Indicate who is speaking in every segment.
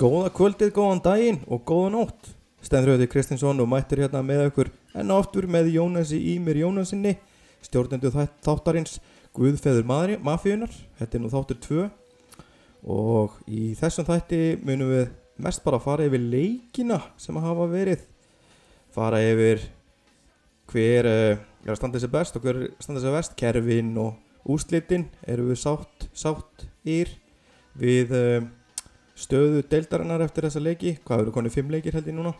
Speaker 1: Góða kvöldið, góðan daginn og góða nótt. Stenþröði Kristinsson og mættir hérna með okkur enn og aftur með Jónasi Ímir Jónasinni, stjórnendu þætt- þáttarins Guðfeður maðri- mafíunar. Þetta er nú þáttur 2 og í þessum þætti munum við mest bara fara yfir leikina sem hafa verið. Fara yfir hver eh, er að standa sér best og hver er að standa sér vest, kerfin og úrslitin. Erum við sátt, sátt ír við... Um, stöðu deildarinnar eftir þessa leiki hvað eru konið fimm leikir held ég núna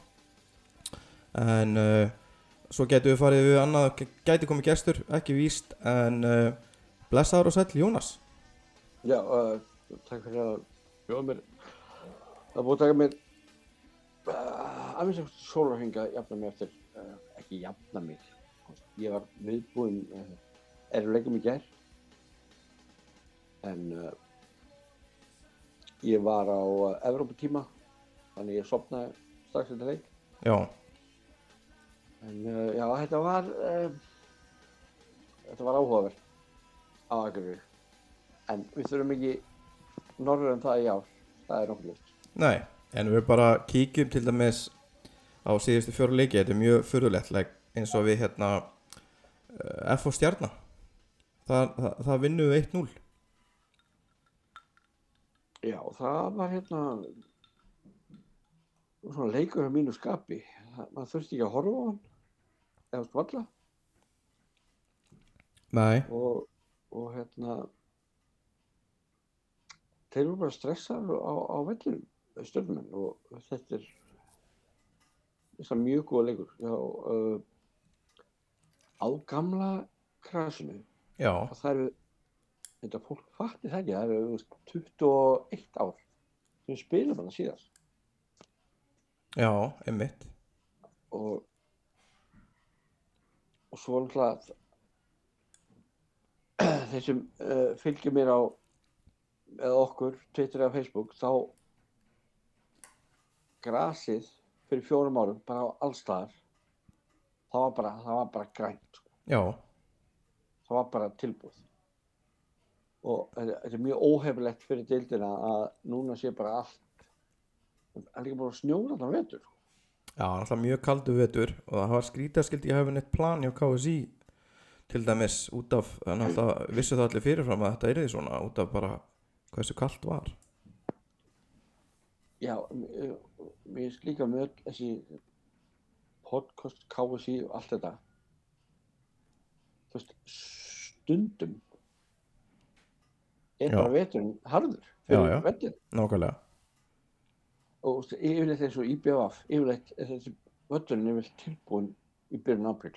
Speaker 1: en uh, svo getum við farið við annað gæti komið gestur, ekki víst en uh, blessaður og sæll Jónas
Speaker 2: Já, uh, takk fyrir að bjóða mér. Það er búið að taka mér uh, að minnst eitthvað sólarhenga að jafna mig eftir, uh, ekki jafna mig. Ég var viðbúinn uh, erfileikum í gær, en uh, ég var á uh, Evróputíma, þannig ég sopnaði strax eftir leik.
Speaker 1: já,
Speaker 2: En uh, já, þetta var, uh, þetta var áhugavert á Akureyri. En við þurfum ekki norður en það í ár, það er nokkuð ljóst.
Speaker 1: nei, en við bara kíkjum til dæmis á síðustu fjóru leiki, þetta er mjög furðulegt like, eins og við hérna uh, F og stjarnar það, það, það vinnum við 1-0
Speaker 2: Já, það var hérna svona leikur af mínu skapi. Það, maður þurfti ekki að horfa á hann, eða skvalla.
Speaker 1: nei,
Speaker 2: Og, og hérna, þeir eru bara stressaður á, á vellinum, stjórnumenn. Og þetta er, þetta er mjög góða leikur. Já, uh, á gamla krasinu
Speaker 1: já,
Speaker 2: og það eru þetta fólk fatti það ekki, það eru þú veist, 21 ár sem við spilum hann síðast
Speaker 1: já, einmitt
Speaker 2: og og svo náttúrulega að þeir sem uh, fylgir mér á eða okkur, Twitter eða Facebook þá grasið fyrir fjórum árum bara á allstaðar það var bara, það var bara grænt sko.
Speaker 1: já,
Speaker 2: það var bara tilbúð og þetta þetta er mjög óhefilegt fyrir deildina að núna sé bara allt það er líka bara snjóra þarna á vetur
Speaker 1: Já, alltaf mjög kaldu vetur og það var skrítaskildi ég hafi neitt plan hjá KSI til dæmis út af, en alltaf vissu það allir fyrirfram að þetta er því svona út af bara hversu kalt var.
Speaker 2: já, mér mér finnst líka með öll þessi podcast, KSI og allt þetta þú veist stundum er
Speaker 1: Já.
Speaker 2: bara veturinn harður
Speaker 1: Já, já.
Speaker 2: fyrir vetur
Speaker 1: Nákvæmlega.
Speaker 2: og þú veist, yfirleitt eins og IBF yfirleitt er þessi völlurinn er vel tilbúin í byrjun apríl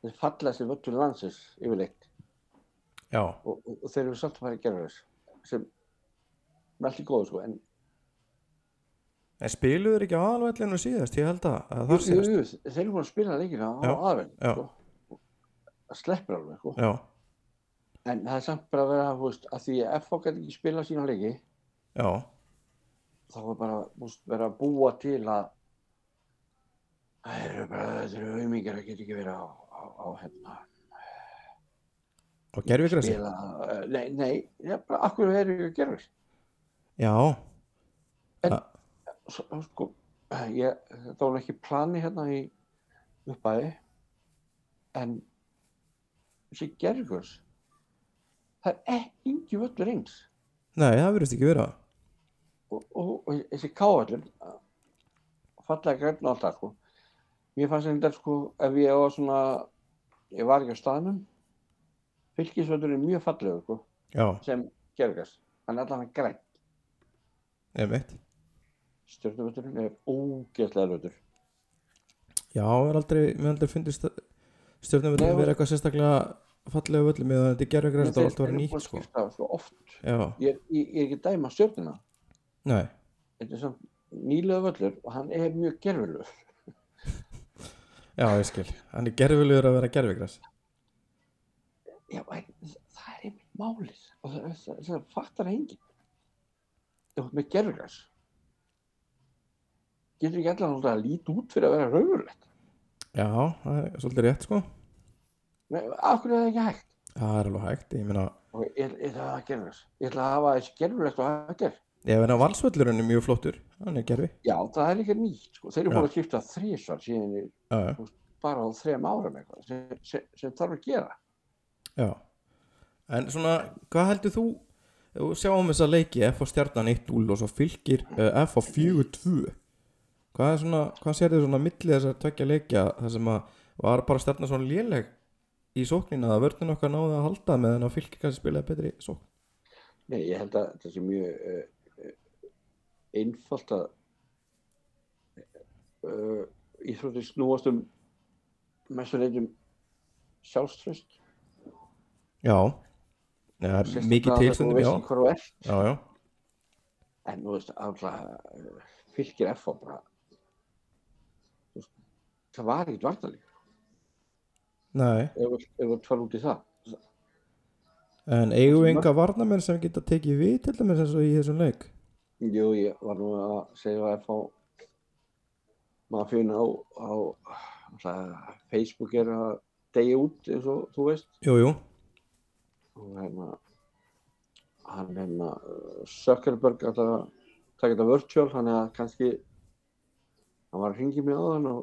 Speaker 2: þessi fallasti völlur landsins yfirleitt
Speaker 1: Já,
Speaker 2: og, og, og þeir eru samt að fara að gera þess sem með allt í góðu sko en
Speaker 1: en spiluður ekki á aðalvellinu síðast, ég held að, að
Speaker 2: jú,
Speaker 1: það
Speaker 2: jú,
Speaker 1: síðast.
Speaker 2: jú, þeir eru búin að spila leikina á
Speaker 1: Já,
Speaker 2: aðvenn
Speaker 1: já.
Speaker 2: sko. það sleppur alveg sko.
Speaker 1: Já,
Speaker 2: en það er samt bara að vera þú veist, að því að FH gæti ekki spila sína leiki
Speaker 1: já,
Speaker 2: þá er bara múst vera að búa til að það eru bara þetta eru auðmingar að geta ekki verið á, á, á hérna
Speaker 1: og gerfi græsi.
Speaker 2: spila, eh, nei, nei, já, bara akkur er ég að gera þess
Speaker 1: Já,
Speaker 2: S- sko, ég, þetta var nú ekki plani hérna í uppæði en þessi gerðugurs það er ekki engi völlur eins
Speaker 1: nei, það verðist ekki vera.
Speaker 2: og, og, og þessi kávöllur fallega græn og allt það sko mér fannst þetta sko ef ég var svona ég var ekki á staðnum fylgisvöllur er mjög fallegur sko
Speaker 1: Já,
Speaker 2: sem gerðugurs hann er allavega græn
Speaker 1: einmitt.
Speaker 2: stjórnumvöllurinn er ógeðlega lötur
Speaker 1: Já, við aldrei, við aldrei fundist stjórnumvellinu
Speaker 2: Nei,
Speaker 1: verið eitthvað sérstaklega fallega völlum með að þetta er gerfi græsi, það var alltaf verið
Speaker 2: búin
Speaker 1: nýtt,
Speaker 2: að
Speaker 1: sko.
Speaker 2: skipta svo oft
Speaker 1: Já,
Speaker 2: ég, ég, ég er ekki að dæma stjórnina
Speaker 1: nei,
Speaker 2: þetta er samt nýlega völlur og hann er mjög gerfilegur
Speaker 1: já, ég skil. Hann er gerfilegur að vera gerfi
Speaker 2: já, en, það er einmitt málið og það, það, það fattar enginn þú ert með gerfilegas getur ekki allan að líti út fyrir að vera raunverulegt
Speaker 1: Já, það er svolítið rétt sko
Speaker 2: Nei, af hverju er það ekki hægt
Speaker 1: Það er alveg hægt, ég meina
Speaker 2: og ég, ég ætla að hafa gerfilegas ég ætla að hafa þessi gerfilegt og það er
Speaker 1: Ég veit að valsvöllurinn er mjög flottur, hann er gerfi.
Speaker 2: Já, það er eitthvað nýtt, sko. Þeir eru
Speaker 1: Já.
Speaker 2: búin að skipta þrísvar síðan í
Speaker 1: Já,
Speaker 2: bara á þrem árum eitthvað sem, sem, sem þarf að gera.
Speaker 1: já. En svona, hvað heldur þú, ef við sjáum þess að leiki F á stjarnan 1-0 og svo fylgir uh, F á 4-2. Hvað er svona, hvað sér þið svona millið þess að tvekja leikja þar sem að var bara stjarnan svona léleg í sóknina að vörðin okkar náði að halda með en að fylgir kannski spilaði betri sókn.
Speaker 2: Nei, ég held að þetta sé mjög uh, einfalt að uh, íþróttir snúast um mesturleitum sjálfströst.
Speaker 1: Já, já mikið tilstundum, já.
Speaker 2: Hvað þú ert.
Speaker 1: Já, já,
Speaker 2: En þú veist, alltaf fylgir F bara þú veist, það var ekkert vartalík
Speaker 1: nei.
Speaker 2: ef ef þú tvar út í það.
Speaker 1: En eigum við
Speaker 2: Svona.
Speaker 1: enga varnamenn sem geta tekið við til dæmis eins og í þessum leik?
Speaker 2: Jú, ég var nú að segja að F á maður fyrir á, á alltaf, Facebook er að degja út eins og þú veist
Speaker 1: Jú, jú,
Speaker 2: og hérna hann hérna uh, Zuckerberg alltaf að taka þetta virtual hann að kannski hann var að hringi mig á hann og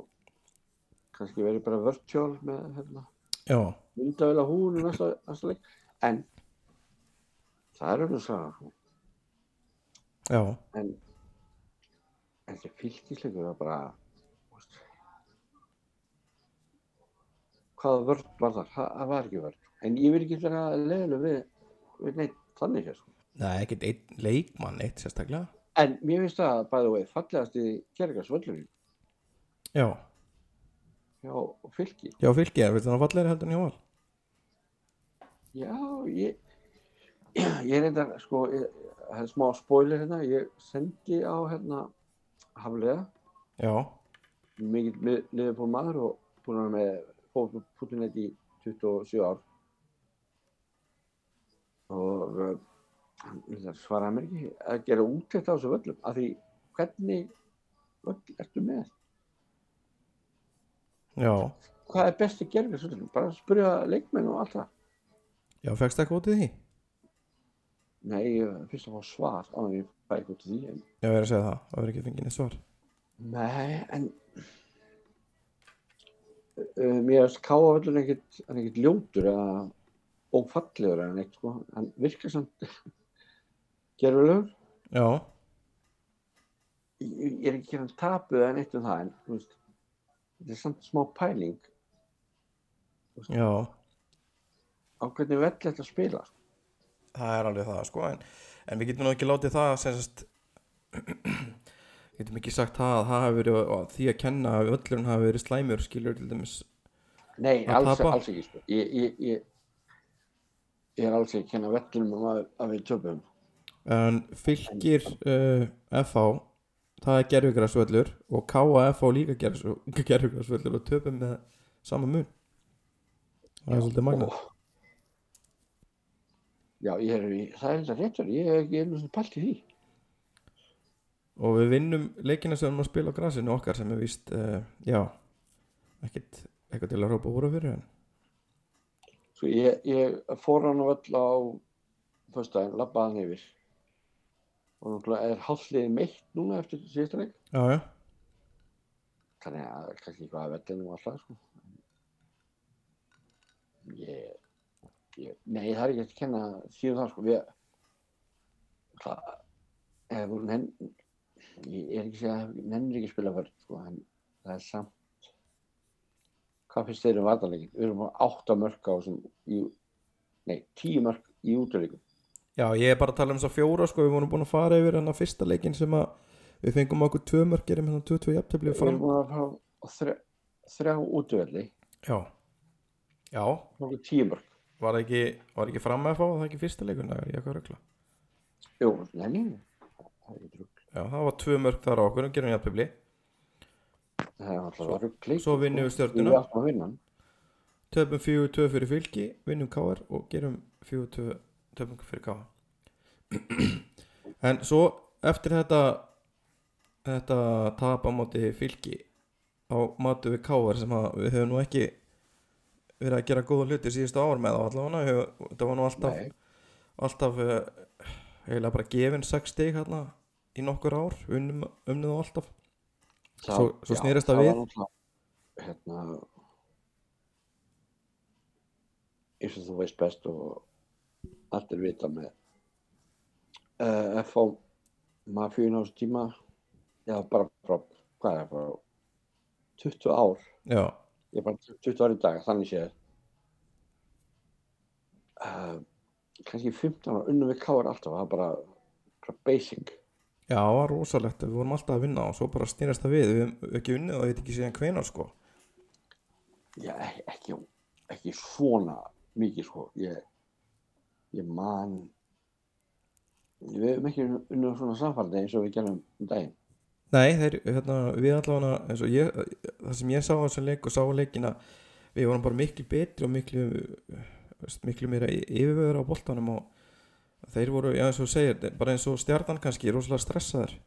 Speaker 2: kannski verið bara virtual með hérna
Speaker 1: já,
Speaker 2: myndavel á húnu næsta, næsta leik en það er um að sagða
Speaker 1: já,
Speaker 2: en en þessi fylgisleikur var bara þú veist, hvaða vörd var þar, það það var ekki vörd en ég vil ekki vera leiðileg við, við neitt þannig hér sko
Speaker 1: Nei, ekkert einn leikmann eitt sérstaklega
Speaker 2: En mér finnst það, by the way, fallegast í gergarsvöllurinn
Speaker 1: Já,
Speaker 2: hjá fylki.
Speaker 1: já fylgið, er þannig að fallegri heldur en hjá val
Speaker 2: Já, ég, ég er þetta, sko, ég- það er smá spoiler hérna, ég sendi á hérna haflega,
Speaker 1: Já,
Speaker 2: mikill liðbúr maður og búin að vera með fótbúttunett í 27 ár. Og uh, hann uh, svaraði mér ekki að gera úttekt á þessu völlum, af því hvernig völl ertu með?
Speaker 1: já,
Speaker 2: Hvað er besti gergarsvöllurinn? Bara spurja leikmenn og allt það.
Speaker 1: já, fegst ekki út í því
Speaker 2: Nei, ég finnst að fá svar á því ég fæ ekki út af því. En...
Speaker 1: Já, verið að segja það, það verið ekki fengið neitt svar
Speaker 2: Nei, en uh, mér finnst káaföllur ekkert, hann er ekkert ljótur eða ófallegur eða neitt, sko. Hann virkar samt gerfilegur.
Speaker 1: Já,
Speaker 2: Ég, ég er ekki hérna tapuð eða neitt um það, en þú veist, þetta er samt smá pæling
Speaker 1: já,
Speaker 2: á hvernig vell þetta spila. sko.
Speaker 1: það er alveg það sko En, en við getum nú ekki látið það sem sagt getum ekki sagt það að það hafi verið og því að kenna að öllurinn hafi verið slæmur skilur til dæmis
Speaker 2: Nei,
Speaker 1: Að
Speaker 2: alls,
Speaker 1: tapa?
Speaker 2: alls ekki, sko. Ég, ég, ég, ég er alls ekki að kenna vellunum um að, að við töpum.
Speaker 1: En fylgir uh, FH það er gerfugrarsvöllur og KF og líka gerfugrarsvöllur og töpum með sama mun Það er svolítið magna
Speaker 2: Ó. Já, ég er, það er þetta réttur, ég hef ekki einu sem pælt í því.
Speaker 1: og við vinnum leikina sem við erum að spila á grasinu okkar sem er víst uh, já, ekkert eitthvað til að rópa úr á fyrir en
Speaker 2: Svo ég, ég fór hann á öll á föstudaginn, labbaði hann yfir. Og náttúrulega er hálfliðið meitt núna eftir síðasta leik.
Speaker 1: já, já,
Speaker 2: Þannig að kannski eitthvað að vellinu og alltaf, sko. Ég, ég, nei, það er ekki að kenna síðan það, sko. Við, það, ef hún nenn, ég er ekki að segja, að nennir ekki að spila vörð, sko, en það er samt. Hvað finnst þeir um varnarleikin? Við erum á átta mörk á þessum, í, nei, tíu mörk í útverðleikum.
Speaker 1: já, ég er bara að tala um þess að fjóra sko, við vorum búin að fara yfir hennar fyrsta leikin sem að við fengum okkur tvö mörgir um hennar 22 jafntöfli
Speaker 2: Við erum búin að fara á þrjá, þrjá útverðli,
Speaker 1: já, já,
Speaker 2: nokkuð tíu mörk.
Speaker 1: var það ekki, var ekki fram FH, var það ekki fyrsta leikun eða er ég eitthvað að rögla
Speaker 2: Jú, nennir, það er ekki trúk.
Speaker 1: Já, það var tvö mörg þar á okkur og gerum jafntöfli
Speaker 2: Það er alltaf ruggli.
Speaker 1: svo vinnum við Stjörnuna.
Speaker 2: Við áttum að vinna hann.
Speaker 1: Töpum 4-2 fyrir fylki, vinnum KR og gerum 4-2 töpum fyrir KR En svo eftir þetta þetta tap á móti fylki á matu við KR sem að við höfum nú ekki verið að gera góða hluti síðustu ár með á allavega, höfum- þetta var nú alltaf
Speaker 2: Nei,
Speaker 1: alltaf eh, eiginlega bara gefin 6 stig hérna í nokkur ár, unnum, unnum það alltaf
Speaker 2: Það-
Speaker 1: Svo- svo
Speaker 2: já,
Speaker 1: snerist það
Speaker 2: var
Speaker 1: við.
Speaker 2: náttúrulega, hérna eins og þú veist best og allir vita með uh, FH mafíun á þessu tíma já bara frá hvað er frá 20 ár
Speaker 1: Já,
Speaker 2: ég er bara 20 ár í dag þannig séð uh, kannski 15 ára unnum við káar alltaf það var bara, bara basic
Speaker 1: já, það var rosalegt við vorum alltaf að vinna og svo bara snýrast það við við hefum ekki unnið og veit ekki síðan hvenar sko
Speaker 2: Já, ek- ekki, ekki svona mikið sko. Ég, ég man, við hefum ekki unnum svona samfarni eins og við gerum um daginn.
Speaker 1: Nei, þeir, hérna, við allavega eins og ég, það sem ég sá á þessum leik og sá á leikina, við vorum bara miklu betri og miklu veist, miklu meira y- yfirveður á boltanum og þeir voru, já eins og þú segir þeir- bara eins og stjarnan kannski, rosalega stressaður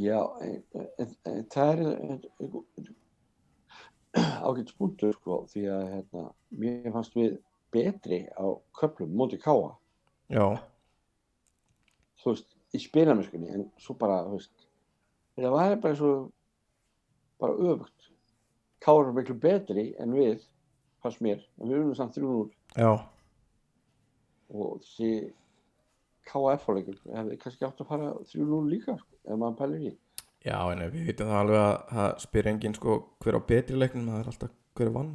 Speaker 2: Já, e-, en, en, en það er e-, ágætt spunktur sko því að hérna, mér fannst við betri á köflum móti káa.
Speaker 1: Já,
Speaker 2: Þú veist, í spilamennskunni en svo bara, þú veist, þetta var bara svo bara öfugt. Káa er miklu betri en við, fannst mér, en við unnum samt 3-0
Speaker 1: já,
Speaker 2: og þessi KF-leikur hefði kannski átt að fara 3-0 líka sko, ef maður pælir í
Speaker 1: já en við veitum það alveg að það spyr enginn sko hver á betri leiknum, það er alltaf hver vann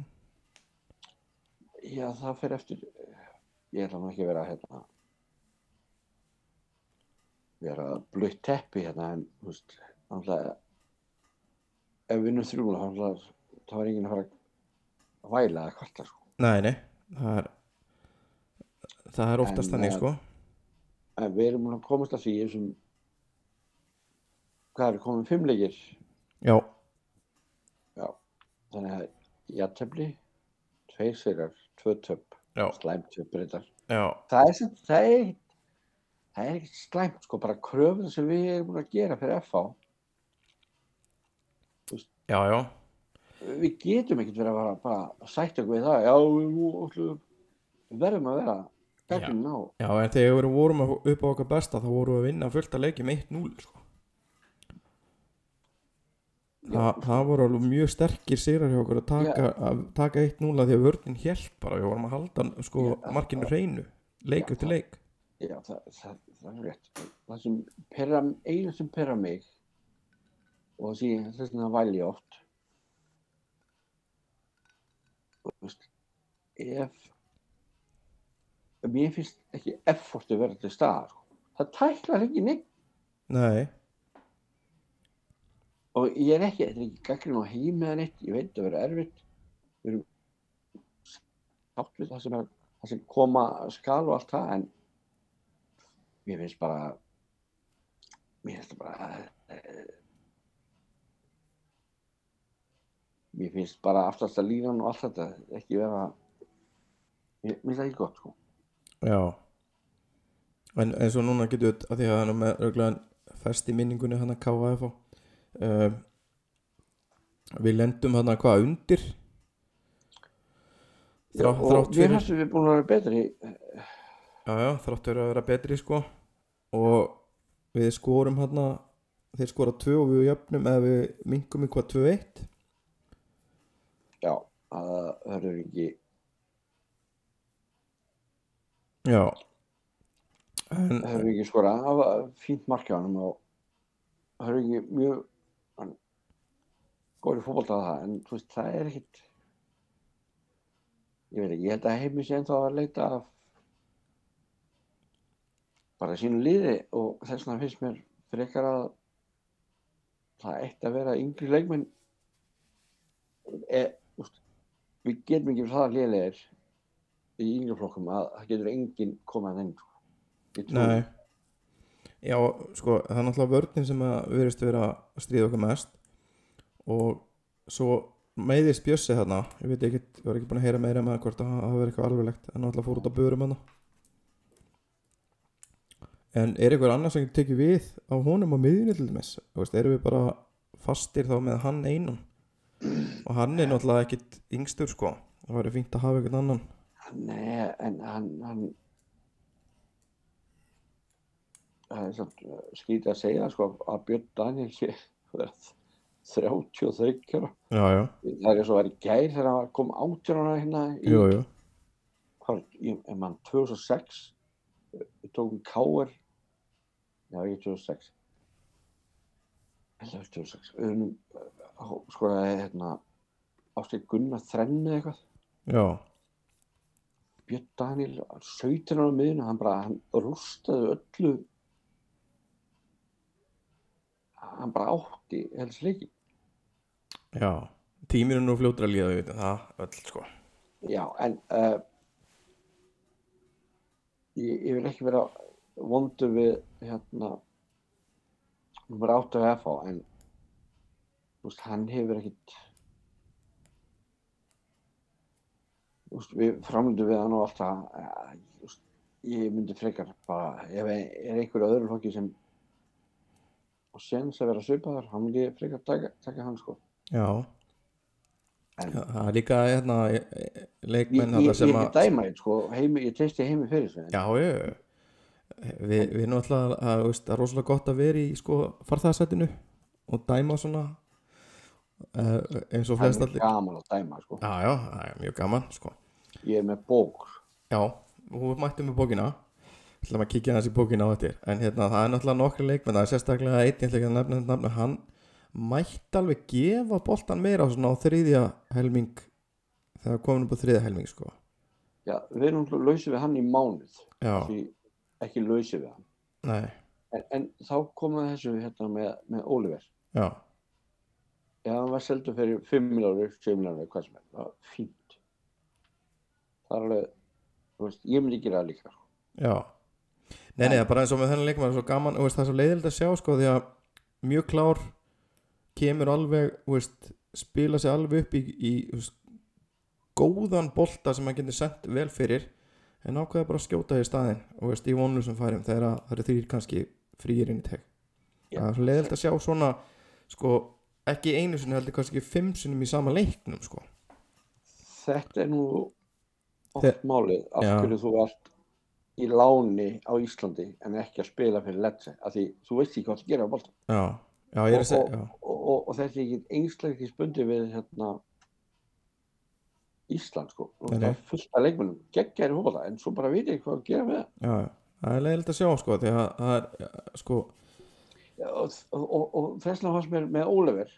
Speaker 2: já það fer eftir eh, ég ætla nú ekki að vera hérna vera blöitt teppi hérna en þú veist náttúrulega ef við vinnum 3-0 þá náttúrulega- þá er enginn að fara að væla eða kvarta sko
Speaker 1: Nei, nei, það er það er oftast
Speaker 2: En,
Speaker 1: þannig
Speaker 2: eh,
Speaker 1: sko
Speaker 2: en við erum að komast að því sem hvað eru komin fimm leikir
Speaker 1: Já,
Speaker 2: já þannig að jættefli tveir sigrar, tvö töpp
Speaker 1: já,
Speaker 2: slæmt við breytar
Speaker 1: já,
Speaker 2: það er sem, það er það er ekkert slæmt sko bara kröfuna sem við erum búin að gera fyrir FH
Speaker 1: já, já
Speaker 2: við getum ekkert verið að bara, bara að sætta okkur við það já, við, nú ætlum- við verðum að vera gætum á
Speaker 1: Já, en þegar við vorum að- upp á okkar besta þá vorum við að vinna fullt að leikjum 1-0 sko. Þa, það voru alveg mjög sterkir sigrar hjá okkur að taka, að taka 1-0 að því að vörnin hjælt bara, við vorum að halda sko,
Speaker 2: Já,
Speaker 1: markinu hreinu, leik
Speaker 2: Já,
Speaker 1: eftir
Speaker 2: það-
Speaker 1: leik
Speaker 2: já, það, það, það er rétt það sem perra, einu sem perra mig og þessi þess að væli ég oft Þú veist, ef mér finnst ekki effortu verða til staðar sko. það tæklar ekki neitt
Speaker 1: Nei,
Speaker 2: og ég er ekki, þetta er ekki gaggrinn á heim eða neitt, ég veit það verður erfitt við erum sátt við það sem, er, það sem koma skal og allt það en mér finnst bara mér finnst bara eh, mér finnst bara aftast að línan og allt þetta ekki vera mér mér finnst það ekki gott sko
Speaker 1: já En eins og núna getur við að því að hann er með örglega fest í minningunni hann að KF uh, Við lendum hann að hvað undir Þrá,
Speaker 2: og
Speaker 1: þrátt
Speaker 2: mér
Speaker 1: fyrir
Speaker 2: finnst við búin að vera betri
Speaker 1: Já, já, þrátt verið að vera betri sko og við skorum hérna þeir skora 2 og við jöfnum eða við mingum í hvað 2-1
Speaker 2: já, að það verður ekki
Speaker 1: Já en,
Speaker 2: Hörfingi skora, það var fínt mark hjá hann og Hörfingi mjög hann, góður í fótbolta að það en þú veist, það er ekkit ég veit ekki, ég held að heimi sé ennþá að leita af bara sínu liði og þess vegna finnst mér frekar að það eitt að vera yngri leikmenn e, úst, við getum ekki fyrir það að liðlegir í yngri flokkum að það getur enginn komað enn sko. Ég trúi
Speaker 1: Nei Já, sko, það er náttúrulega vörnin sem að verðist vera að stríða okkur mest og svo meiðist Bjössi þarna ég veit ekki, ég var ekki búin að heyra meira með hvort að það hafi verið eitthvað alveglegt en náttúrulega fór út á börum hana En er eitthvað annars sem getur tekið við á honum á miðjunni til dæmis? Þú veist, erum við bara fastir þá með hann einan og hann er náttúrulega ekkit yngstur sko það væri fínt að hafa eitthvað annan
Speaker 2: Nei, en hann, hann það er samt uh, skrítið að segja sko að Björn Daniel sé verið 33 ára.
Speaker 1: já, já,
Speaker 2: Það er eins og var í gær þegar hann var- kom átján ára hérna í,
Speaker 1: jú, jú
Speaker 2: hvað, í en mann 2006 eh, við tókum K.R. Já, ekki 2006. Heldur 2006. Við erum eh, skoraði hérna Ástæk Gunnar þrenni eða eitthvað.
Speaker 1: já,
Speaker 2: Björn Daniel var 17 ára miðun hann bara, hann rústaði öllu hann bara átti helst leiki
Speaker 1: já tíminu nú fljótur að líða við veitum það öll sko
Speaker 2: já, en uh, ég, ég vil ekki vera vondur við hérna nummer 8 af FH en þú veist, hann hefur ekkit Þú veist, við framlindum við hann og allt það eh, þú veist, ég myndi frekar bara ef er einhver öðru flokki sem og séns að vera svipaðar hann myndi ég frekar taka, taka hann sko
Speaker 1: já
Speaker 2: En-
Speaker 1: Já, það er líka hérna e- e-
Speaker 2: ég,
Speaker 1: leikmenn
Speaker 2: ég,
Speaker 1: þarna
Speaker 2: ég,
Speaker 1: sem
Speaker 2: ég
Speaker 1: að
Speaker 2: dæma eitt sko heimi, ég teisti heimi fyrir þessu en
Speaker 1: Já, já, Vi, við erum alltaf að, þú veist, það er rosalega gott að vera í sko farþæðasætinu og dæma svona uh, eins og flest
Speaker 2: það er
Speaker 1: allir.
Speaker 2: gaman að dæma sko
Speaker 1: Já, já, það er mjög gaman, sko.
Speaker 2: ég er með bók
Speaker 1: Já, hún mættum með bókina, ætlum að kíkja hans í bókina á þetta, en hérna það er náttúrulega nokkri leikmenn, það er sérstaklega einn, ég ætla ekki að nefna þetta nafna, hann mætti alveg gefa boltan meira svona á þriðja helming, þegar komin upp á þriðja helming, sko.
Speaker 2: já, við erum náttúrulega lausir við hann í mánuð
Speaker 1: Já,
Speaker 2: því ekki lausir við hann
Speaker 1: nei,
Speaker 2: en, en þá komaði þessu hérna með, með Oliver
Speaker 1: já,
Speaker 2: ef hann var seldur fyrir 5 miljónur, 7 miljónur, hvað sem er, það var fínt. Það er alveg, þú veist, ég myndi gera það líka. sko.
Speaker 1: Já Nei, nei, það er bara eins og með þennan leikmann svo gaman, þú veist, það er svo leiðilegt að sjá sko, því að mjög klár kemur alveg, þú veist, spila sig alveg upp í, í þú veist, góðan bolta sem hann getur sent vel fyrir en ákveða bara að skjóta í staðinn og veist, í vonlu sem færum þegar að það eru þrýr kannski frýir inn í teg
Speaker 2: Já.
Speaker 1: það er svo leiðilegt að sjá svona sko, ekki einu sinni heldur kannski fimm sinnum í sama leiknum sko.
Speaker 2: Þetta er nú oft
Speaker 1: Þe-
Speaker 2: málið, af
Speaker 1: Já.
Speaker 2: hverju þú ert í láni á Íslandi en ekki að spila fyrir Ledse, af því þú veist ekki hvað það gera á bolta.
Speaker 1: Já, já, ég er að
Speaker 2: Og-
Speaker 1: segja já.
Speaker 2: Og, og, og þetta er ekki einstaklega ekki spundið við hérna Ísland sko, og
Speaker 1: Nei,
Speaker 2: það er fullt af leikmennum, geggjæri hópa en svo bara veit ég hvað að gera með það.
Speaker 1: Já, já, það er leiðilegt að sjá sko, því að það er, ja, sko,
Speaker 2: og, og, og þess vegna fannst mér með Oliver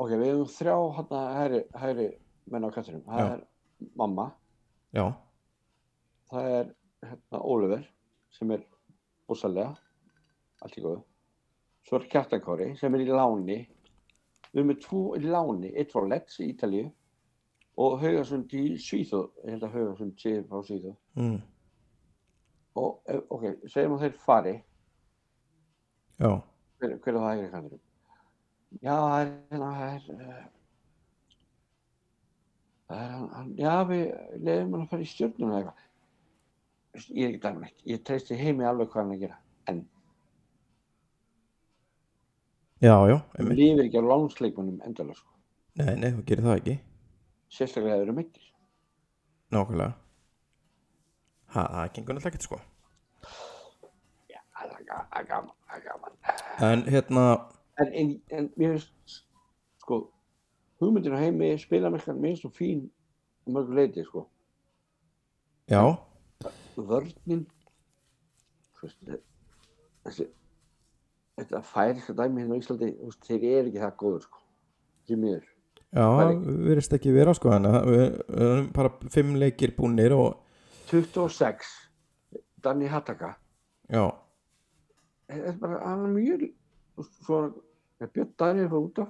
Speaker 2: ok, við hefum þrjá hérna hæri, hæri menn á kattinum það
Speaker 1: Já.
Speaker 2: er mamma,
Speaker 1: já
Speaker 2: það er hérna Oliver sem er bússalega allt í góðu svo er Kjartankóri sem er í láni við erum með tvo í láni eitt frá Letts í Ítalíu og Haugasund í Svíþjóð ég held að Haugasund sé frá Svíþjóð
Speaker 1: Mm,
Speaker 2: og eh, ok, segjum að þeir fari
Speaker 1: já,
Speaker 2: hver, hver er það hægri kantinum? Já, það er hérna, það er, eh, það er hann, hann, já, við leiðum hann að fara í stjórnum eða eitthvað. Þú veist, Ég er ekki dæmi neitt, ég treysti heimi alveg hvað hann er að gera.
Speaker 1: já, já,
Speaker 2: Hann
Speaker 1: einmitt.
Speaker 2: lifir ekki á lánsleikmannum endalega, sko.
Speaker 1: Nei, nei, þú gerir það ekki,
Speaker 2: Sérstaklega ef þeir eru meittir.
Speaker 1: nákvæmlega Ha, það gengur náttúrulega ekki, sko
Speaker 2: Það er ga- það er gaman, það er gaman.
Speaker 1: En hérna,
Speaker 2: En, en, en mér finnst, sko, hugmyndin á heimi spilamerkan mér finnst svo fín um mörgu leiti, sko.
Speaker 1: já,
Speaker 2: vörnin þú veist, þessi þetta færiska dæmi hérna á Íslandi þú veist, þeir eru ekki það góður sko því miður
Speaker 1: já,
Speaker 2: Það er
Speaker 1: við verðist ekki vera, sko En það- við við erum bara fimm leikir búnir og,
Speaker 2: 26 Danny Hattaka
Speaker 1: já,
Speaker 2: þetta er bara hann er mjög þú veist, svona ef Björn Dæri er frá út af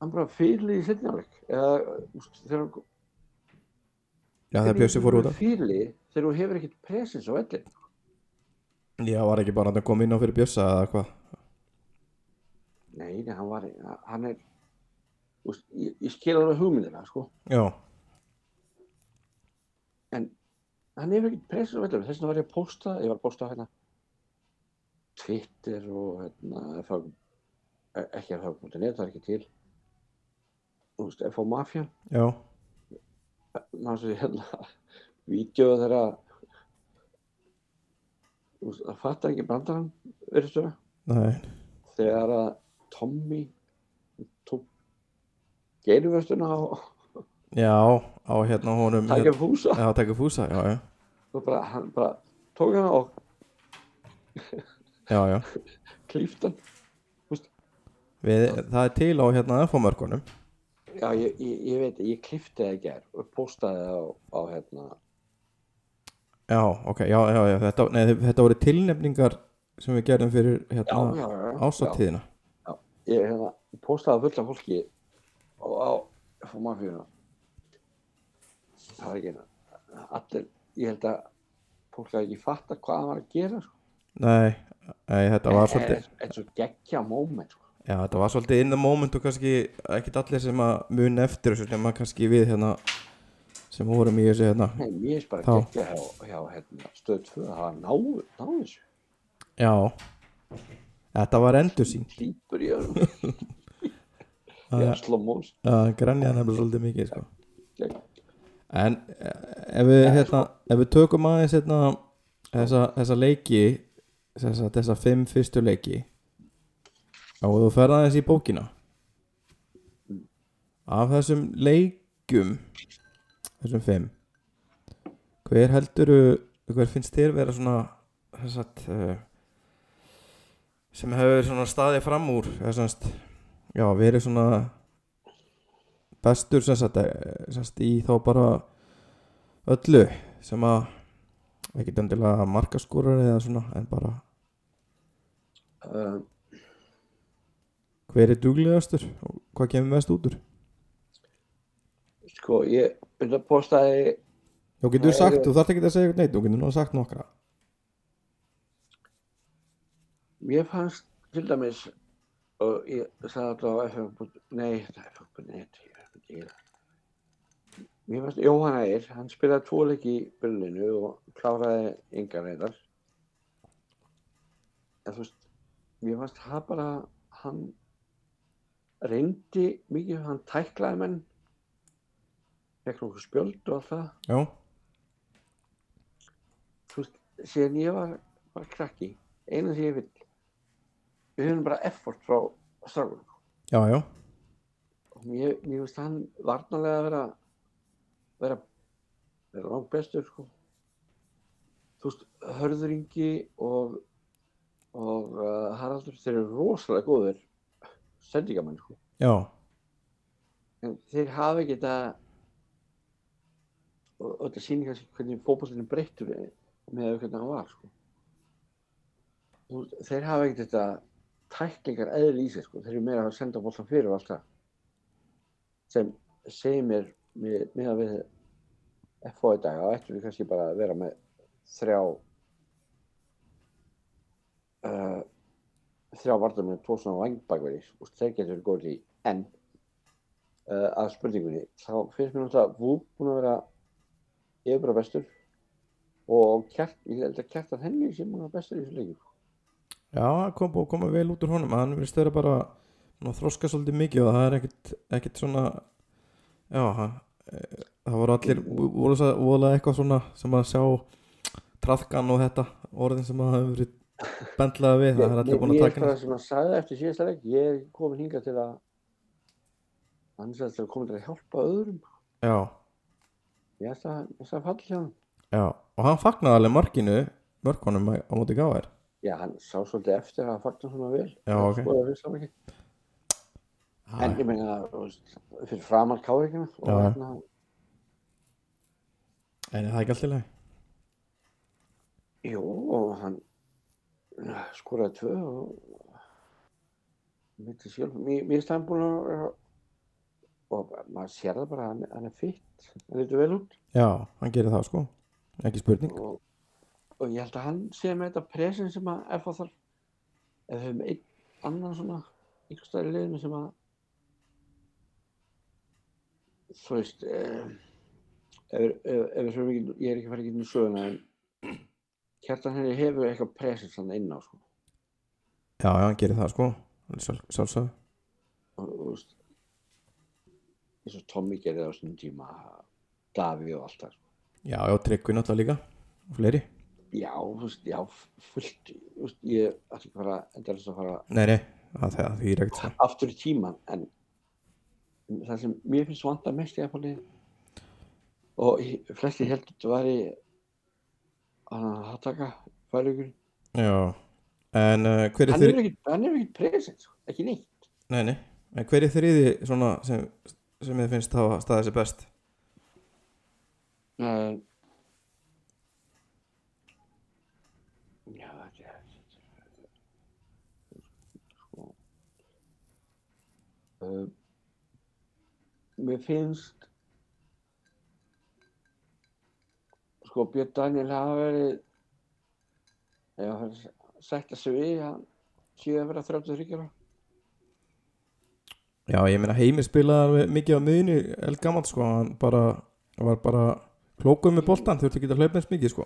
Speaker 2: hann bara fyrirlið í setnjáleik eða þú veist, þegar hann
Speaker 1: já, það bjössi fór út af
Speaker 2: fyrirlið þegar þú hefur ekkert presens á velli
Speaker 1: Já, var ekki bara að koma inn á fyrir bjössa eða hvað
Speaker 2: nei, nei, hann var hann er þú veist, ég, ég skil alveg hugmyndina sko
Speaker 1: Já,
Speaker 2: hann hefur ekki pressur á vellinum, þess vegna var ég að posta, ég var að posta á hérna Twitter og hérna FH, e- ekki FH.net, það er ekki til, þú veist, FH Mafia,
Speaker 1: já,
Speaker 2: maður svo hérna vídjóðu þeirra Þú veist, það fattar ekki brandarann verðist vera
Speaker 1: Nei,
Speaker 2: þegar að Tommy tók geirvörstuna á
Speaker 1: já, á hérna honum
Speaker 2: takja húsa
Speaker 1: Já, taka fúsa, já, já
Speaker 2: og bara, hann bara tók hana og
Speaker 1: Já, já,
Speaker 2: klíft hann
Speaker 1: Við, það er til á hérna FO-mörkunum
Speaker 2: já ég, ég, ég veit, ég klífti það í gær og postaði það á, á hérna
Speaker 1: Já, ok, já, já, já þetta, nei, þetta voru tilnefningar sem við gerðum fyrir
Speaker 2: já,
Speaker 1: hérna
Speaker 2: já, já, já,
Speaker 1: ásatíðina
Speaker 2: ég hérna, postaði fullt af fólki og á fór maður fyrir það er ekki hérna allir, ég held að fólk hafi ekki fatta hvað það var að gera sko.
Speaker 1: Nei, nei, þetta var
Speaker 2: En-
Speaker 1: svolítið
Speaker 2: en- en svo geggja moment sko.
Speaker 1: Já, þetta var svolítið in the moment og kannski ekkit allir sem að muni eftir þessu nema kannski við hérna sem vorum í þessu hérna
Speaker 2: Nei, mér finnst bara
Speaker 1: Þá.
Speaker 2: geggja hjá, hjá hérna, stöð 2 að hafa náðu, náðu þessu
Speaker 1: Já Þetta var endursýn
Speaker 2: klípur í öðrum ég er slómós
Speaker 1: að grænja nefnilega svolítið mikið sko.
Speaker 2: já,
Speaker 1: en eh, ef við, hérna, ef við tökum aðeins hérna, þessa, þessa leiki þessa, þessa fimm fyrstu leiki og þú ferð aðeins í bókina af þessum leikum þessum fimm hver heldur hver finnst þér vera svona þessat uh, sem hefur svona staðið fram úr þessast, já, verið svona bestur sem sagt, eh, sem sagt í þá bara öllu sem að ekki endilega markaskúrar eða svona en bara
Speaker 2: um,
Speaker 1: hver er duglegastur og hvað kemur mest út úr
Speaker 2: sko ég þetta postaði
Speaker 1: Þú getur
Speaker 2: Nei,
Speaker 1: sagt,
Speaker 2: ég-
Speaker 1: þú þarft ekki að segja eitthvað neitt þú getur nú sagt nokkra
Speaker 2: mér fannst til dæmis og ég sagði þetta á FM nei, þetta er FM.net ég er ekki í það. mér fannst Jóhann Ægir, hann spilaði tvo leiki í byrlinu og kláraði engar reyndar en þú veist mér fannst það bara hann reyndi mikið, hann tæklaði menn fekk nokkuð spjöld og allt það
Speaker 1: Já,
Speaker 2: þú veist, síðan ég var, var krakki, eina sem ég vill við höfum bara effort frá strákunum
Speaker 1: já, já,
Speaker 2: og mér, mér finnst hann varnalega að vera vera, vera langt bestur sko. þú veist, Hörður Ingi og og uh, Haraldur þeir eru rosalega góðir sendingamenn sko.
Speaker 1: já
Speaker 2: en þeir hafa ekki þetta og, og þetta sýnir kannski hvernig fótbollinu breyttur er með að hvernig hann var sko. og þeir hafa ekki þetta tæklingar eðl í sig sko. þeir eru meira að senda boltan fyrir og allt það sem segir mér með, með að við FO í dag og ættum við kannski bara að vera með þrjá uh, þrjá vartum með tvo svona vangbakveri og þeir getur góð í enn uh, að spurningunni þá finnst mér náttúrulega Vú búin að vera yfirbara bestur og kjart, ég held að kjartan henni sem búin að vera bestur í þessu leikur
Speaker 1: Já, kom búið að koma vel út úr honum að hann virðist vera bara nú, þroska svolítið mikið og það er ekkit, ekkit svona já, hann, eh, það voru allir voru svo- voðalega eitthvað svona sem að sjá trafkan og þetta orðin sem að hafa verið bendlaða við það er allir búin að
Speaker 2: ég er
Speaker 1: taka
Speaker 2: bara
Speaker 1: henni
Speaker 2: sem að sagði eftir síðasta leik ég er komin hingað til að hann er sagðist að komin til að hjálpa öðrum
Speaker 1: Já,
Speaker 2: ég ætla að, ég ætla að falla hjá hann
Speaker 1: já, og hann fagnaði alveg markinu mörkunum á móti gáðar
Speaker 2: já, hann sá svolítið eftir að hann fagnar svona vel
Speaker 1: Já, ok.
Speaker 2: Skoðaði við saman ekki. en
Speaker 1: Já,
Speaker 2: ég meina þú veist, fyrir framar káringina og
Speaker 1: Já, já.
Speaker 2: hérna
Speaker 1: en það er ekki allt í lagi
Speaker 2: Jú, og hann eh, skoraði tvö og mitt í sjálf, mér mér finnst hann búin að vera- og maður sér það bara, hann, hann er fýtt, hann lítur vel út
Speaker 1: Já, hann gerir það sko, ekki spurning
Speaker 2: og, og ég held að hann sé með þetta presin sem að ef það þarf, ef við höfum einn annan svona, einhvers staðar í liðinu sem að þú veist, eh, ef, ef, ef við höfum ekki, ég er ekki að fara ekki inn í söguna en Kjartan henni hefur eitthvað presin svona inn á sko
Speaker 1: Já, já, hann gerir það sko, sjálfsög
Speaker 2: og, og þú veist eins og Tommy gerði á svona tíma Davi og allt það sko.
Speaker 1: Já, já, Tryggvi náttúrulega líka og fleiri.
Speaker 2: já, þú veist, já, fullt þú veist, ég ætla ekki að fara endalins að fara
Speaker 1: Nei, nei, að það því er ekkert svo.
Speaker 2: aftur í tíman en það sem mér finnst vanda mest í Apple og í- flestir heldur þetta væri hann að hattaka fælugur
Speaker 1: Já, en uh, hver er
Speaker 2: hann er
Speaker 1: þeirri,
Speaker 2: ekkert hann er ekkert present sko, ekki neitt
Speaker 1: nei, nei, en hver er þriði svona sem, sem þið finnst hafa staðið sér best?
Speaker 2: uh, já þetta er sko uh, mér finnst sko Björn Daniel hafa verið ef hann sætta sig við hann séu að vera 33 ára
Speaker 1: Já, ég meina Heimir spilaði alveg mikið á miðinu elgamalt sko, hann bara var bara klókuð með boltan, þurfti ekki að hlaupa eins mikið sko.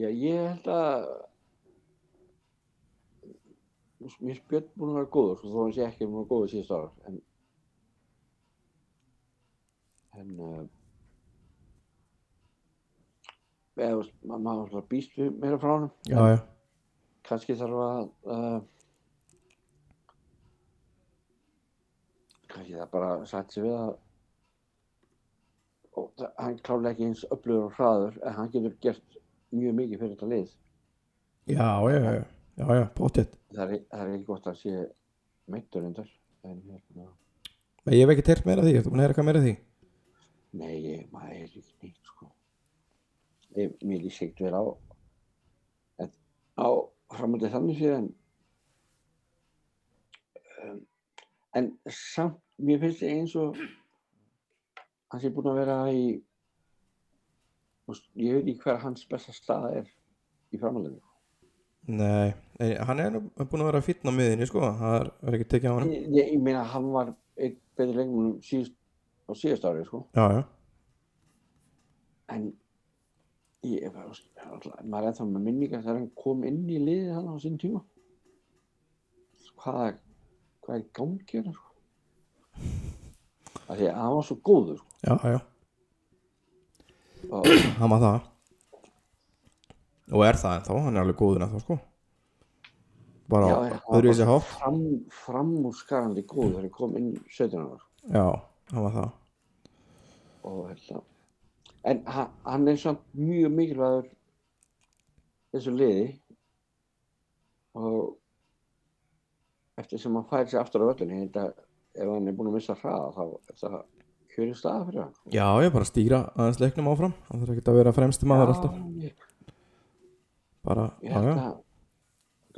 Speaker 2: Já, ég held að mér er Björn búinn að vera góður sko, þó hann sé ekki búinn að vera góður síðust ára en en uh, eða þú veist, ma maður alltaf býst við meira frá honum
Speaker 1: Já, já.
Speaker 2: kannski þarf að uh, kannski það bara sætt sig við að og það, hann klálega ekki eins öflugur og hraður en hann getur gert mjög mikið fyrir þetta lið
Speaker 1: Já, já, já, já, já, já, pottet.
Speaker 2: það er, það er ekki gott að sé meittur undir en hérna
Speaker 1: Ég hef ekki teirt meira af því, ertu búin að heyra eitthvað meira af því?
Speaker 2: nei, ég- maður er ekki neitt sko ég, mér líst ekkert vel á en á framöndi þannig síðan um, en samt mér finnst það eins og hann sé búinn að vera í þú veist, ég veit ekki hver hans besta stað er í framhaldinu
Speaker 1: Nei, nei, hann er nú búin að vera fýtna á miðinu sko, það er, er ekki tekið á hann.
Speaker 2: ég, ég, ég meina hann var einn betri leikmúnum síðust á síðast ári sko
Speaker 1: Já, já.
Speaker 2: en ég er bara, ég er alltaf, maður er ennþá með minningar þegar hann kom inn í liðið hann á sinn tíma hvað er hvað er í gangi hérna sko af því að hann var svo góður sko.
Speaker 1: Já, já,
Speaker 2: og
Speaker 1: hann var það Og er það ennþá, hann er alveg góður ennþá sko Bara
Speaker 2: Já, já,
Speaker 1: öðru í sig hátt
Speaker 2: fram, framúrskarandi góður þegar hann kom inn 17 ára sko.
Speaker 1: Já, hann var það
Speaker 2: og hérna en hann, hann er samt mjög mikilvægur þessu liði og eftir sem hann fær sér aftur á völlinu ég held að ef hann er búinn að missa hraða þá er það kjöri staða fyrir hann
Speaker 1: Já, ég bara stýra aðeins leiknum áfram Hann þarf ekki að vera fremsti maður alltaf
Speaker 2: ég,
Speaker 1: Bara,
Speaker 2: ég
Speaker 1: já, já
Speaker 2: held að, ég held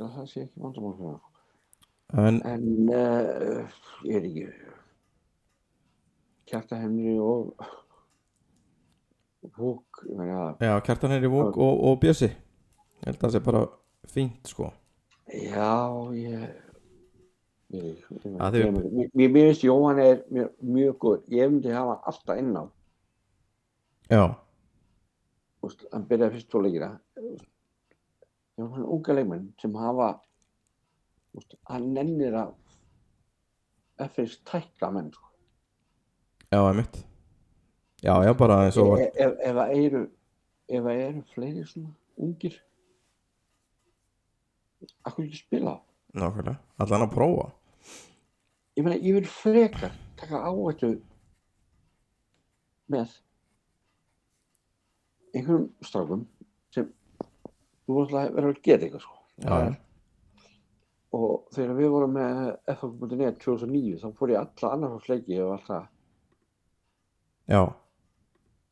Speaker 2: að það sé ekki vandamál fyrir hann
Speaker 1: En,
Speaker 2: en uh, ég er ekki kjarta henni og og húk ég meina
Speaker 1: já, kjartan er í vók og, og bjössi Ég held að það sé bara fínt sko
Speaker 2: Já, ég... Ég,
Speaker 1: Að þau-
Speaker 2: ég, ég, mér- mér mér finnst Jóhann er mjög, mjög góð ég myndi hafa hann alltaf inn á
Speaker 1: Já,
Speaker 2: úst, hann byrjaði fyrst tóleikina það var hann unga leikmenn sem hafa úst, hann nennir að FS tækla menn sko.
Speaker 1: já, einmitt Já, já, bara eins og var
Speaker 2: ef, E- ef, ef að eru ef að eru fleiri svona ungir akkur ekki spila þá?
Speaker 1: Nákvæmlega, allan að prófa
Speaker 2: ég meina, ég vil frekar taka áhættu með einhverjum strákum sem þú voru alltaf að vera að geta eitthvað sko. Það
Speaker 1: Já,
Speaker 2: er- Og þegar við vorum með FF.net 2009 þá fór ég alla annarfársleiki og alltaf,
Speaker 1: já,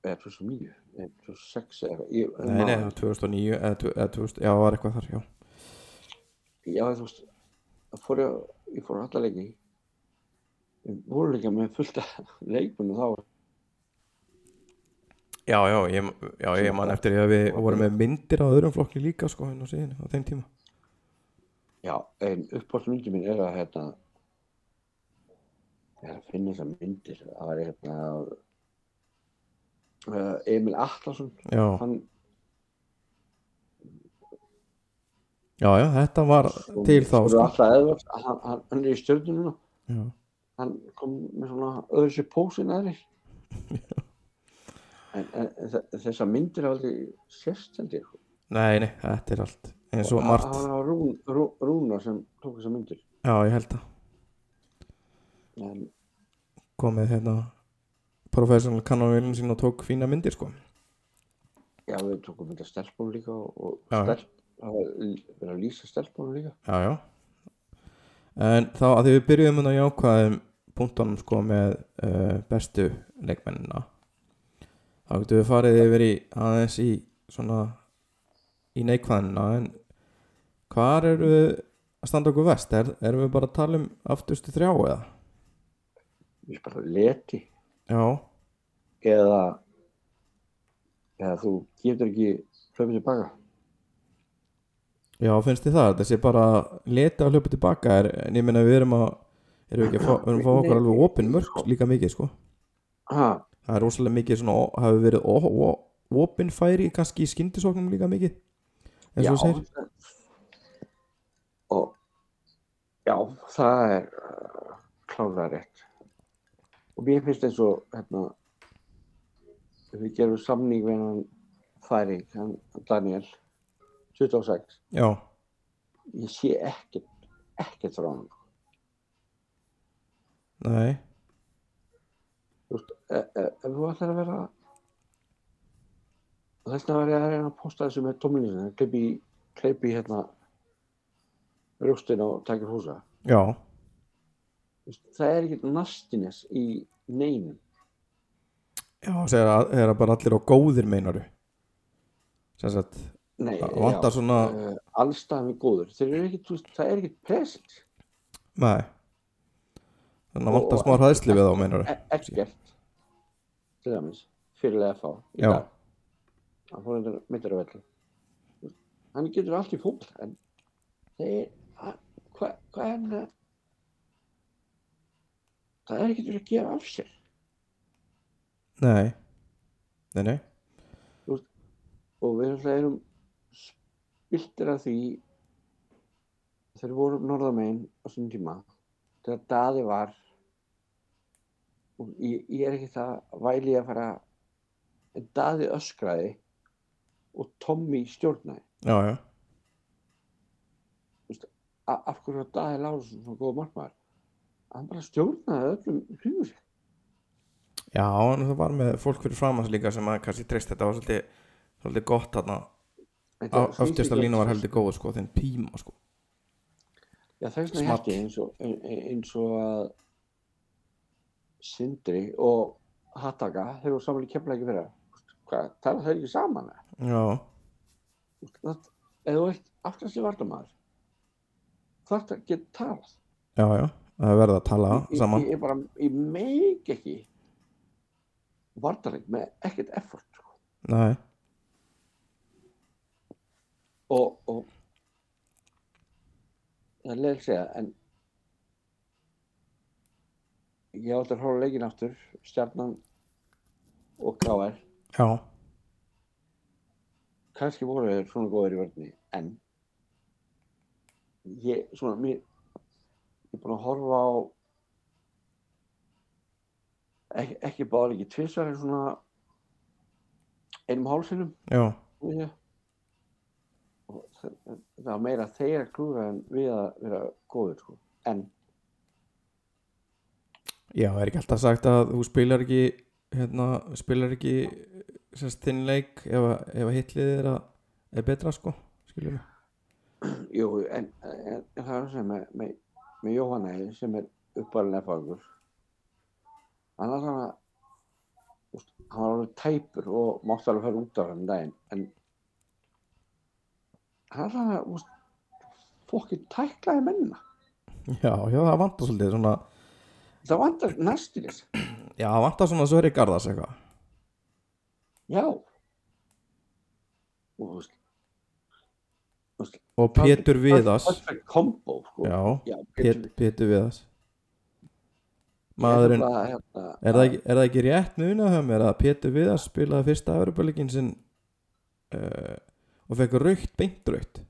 Speaker 2: eða 2009, eða 2006 eða eitthvað. Ég-
Speaker 1: nei, nei,
Speaker 2: maður-
Speaker 1: 2009 eða, tv- eða 2000, já, var eitthvað þar, já
Speaker 2: Já, þú veist, það fór ég, ég fór á alla leiki. Við vorum líka með fullt af leikmennu þá.
Speaker 1: Já, já, ég, já, ég man eftir því að við vorum með myndir á öðrum flokki líka sko hérna á síðinu á þeim tíma
Speaker 2: Já, en uppáhaldsmyndin mín er að hérna ég er að finna þessar myndir það var hérna uh, Emil Atlason
Speaker 1: Já,
Speaker 2: hann,
Speaker 1: já, já, þetta var til þá
Speaker 2: sko.
Speaker 1: sko
Speaker 2: Alla Edvards, hann, hann, hann er í stjörnunum
Speaker 1: Já,
Speaker 2: hann kom með svona öðru sér pósin aðri en, en, en þe- þessar myndir hafa aldrei sérst held ég
Speaker 1: Nei, nei, þetta er allt eins og margt,
Speaker 2: það var rún, rún, Rúna sem tók þessar myndir
Speaker 1: já ég held að
Speaker 2: en,
Speaker 1: komið hérna professional kannanvélun sín og tók fína myndir sko
Speaker 2: já við tókum myndir af stelpunum líka og
Speaker 1: Já, já.
Speaker 2: stelp, hafa l- verið að lýsa stelpunum líka
Speaker 1: Já, já En þá að því við byrjuðum að jákvæðum punktunum sko með uh, bestu leikmennina þá getum við farið yfir í aðeins í svona í neikvæðina en hvar eru við að standa okkur vest? Er, erum við bara að tala um afturstu þrjá eða?
Speaker 2: ég bara leti
Speaker 1: Já,
Speaker 2: eða eða þú getur ekki hlaupið tilbaka
Speaker 1: já finnst þið það þessi bara leta að hljópa tilbaka er, en ég meina við erum að erum við ekki að fá, við erum að fá okkur alveg opin mörg líka mikið sko
Speaker 2: ha,
Speaker 1: það er rosalega mikið svona hafi verið ó- ó- opin færi kannski í skyndisóknum líka mikið eins
Speaker 2: já
Speaker 1: og þú segir
Speaker 2: og já, það er uh, klálega rétt og mér finnst eins og hérna ef við gerum samning við hann færing, hann Daniel 26,
Speaker 1: já,
Speaker 2: ég sé ekkert ekkert frá hann
Speaker 1: nei,
Speaker 2: Eh, ef þú ætlar að vera og þess vegna var ég að reyna að posta þessu með tómlýsina, kleipi kleipi hérna rústin og takir húsa
Speaker 1: já
Speaker 2: Þú veist, það er ekkert nastiness í neinum
Speaker 1: já, segir að það er bara allir á góðir meinaru sem sagt,
Speaker 2: Nei,
Speaker 1: það vantar svona
Speaker 2: uh, allstæðan við góður þeir eru ekkert, þú veist, það er ekkert present
Speaker 1: nei þannig að
Speaker 2: Og-
Speaker 1: vantar
Speaker 2: og-
Speaker 1: smá hræðslu við þá meinaru
Speaker 2: E- ekkert til dæmis, fyrirlega að fá í
Speaker 1: Já.
Speaker 2: dag hann fór hendur mittur að velli hann getur allt í fólk en þeir hann- hvað hva er hann að það er ekkert verið að gefa af sér
Speaker 1: nei, nei, nei
Speaker 2: og við náttúrulega erum spiltir af því þegar við vorum norðamegin á svona tíma þegar daði var og ég, ég er ekki það væli að fara en daði öskraði og Tommy stjórnaði
Speaker 1: já, já,
Speaker 2: A, af hverju var daði Lárusson svona góð markmaður hann bara stjórnaði öllum hugur
Speaker 1: já, en það var með fólk fyrir framans líka sem að kannski treyst þetta var svolítið, svolítið gott þarna öftjast að lína var heldur góð sko, þinn píma sko
Speaker 2: Já, þess vegna
Speaker 1: Small.
Speaker 2: hætti eins og, ein- eins og að Sindri og Hattaka þeir voru saman í kemla ekki fyrir hvað, tala þeir ekki saman eða?
Speaker 1: já,
Speaker 2: það, eða þú ert aftast í vardamaður þarf að geta talað
Speaker 1: já, já, það er verið að tala
Speaker 2: Ég-
Speaker 1: saman
Speaker 2: ég, ég bara, ég meik ekki vardarleik með ekkert effort sko.
Speaker 1: Nei,
Speaker 2: og, og það er leil segja en ég átti að horfa á leikinn aftur stjarnan og KR
Speaker 1: já,
Speaker 2: kannski voru þeir svona góðir í vörðni en ég svona mér ég er búin að horfa á ekki, ekki báðar ekki tvisvar en svona einum hálsinum
Speaker 1: já,
Speaker 2: Já. Og það það var meira þeir að klúra en við að vera góður sko. En
Speaker 1: já, er ekki alltaf sagt að þú spilar ekki hérna, spilar ekki sérst þinn leik ef, að- ef að hitlið er, að, er betra sko, skiljum við
Speaker 2: jú, en, en, en það er sem með, með, með Jóhanna sem er uppalinn erfaringur. Hann var svona, úst, hann var alveg tæpur og mátti alveg fara út af hann daginn. En hann var svona, úst, fólki tæklaði mennina.
Speaker 1: Já, já, það vantar svolítið svona
Speaker 2: Það vantar næstir þess.
Speaker 1: Já, það vantar svona Sverri Garðars eitthvað
Speaker 2: Já. Og þú veist,
Speaker 1: Og Pétur Viðas
Speaker 2: Perfect combo sko.
Speaker 1: Já,
Speaker 2: já
Speaker 1: Pét,
Speaker 2: Pétur
Speaker 1: Pétur Viðas
Speaker 2: Viðar er
Speaker 1: Maðurinn,
Speaker 2: bara, hérna,
Speaker 1: er það ekki, er það ekki rétt núna hjá mér að Pétur Viðas spilaði fyrsta Evropaleikin sinn uh, og fekk raukt, beint raukt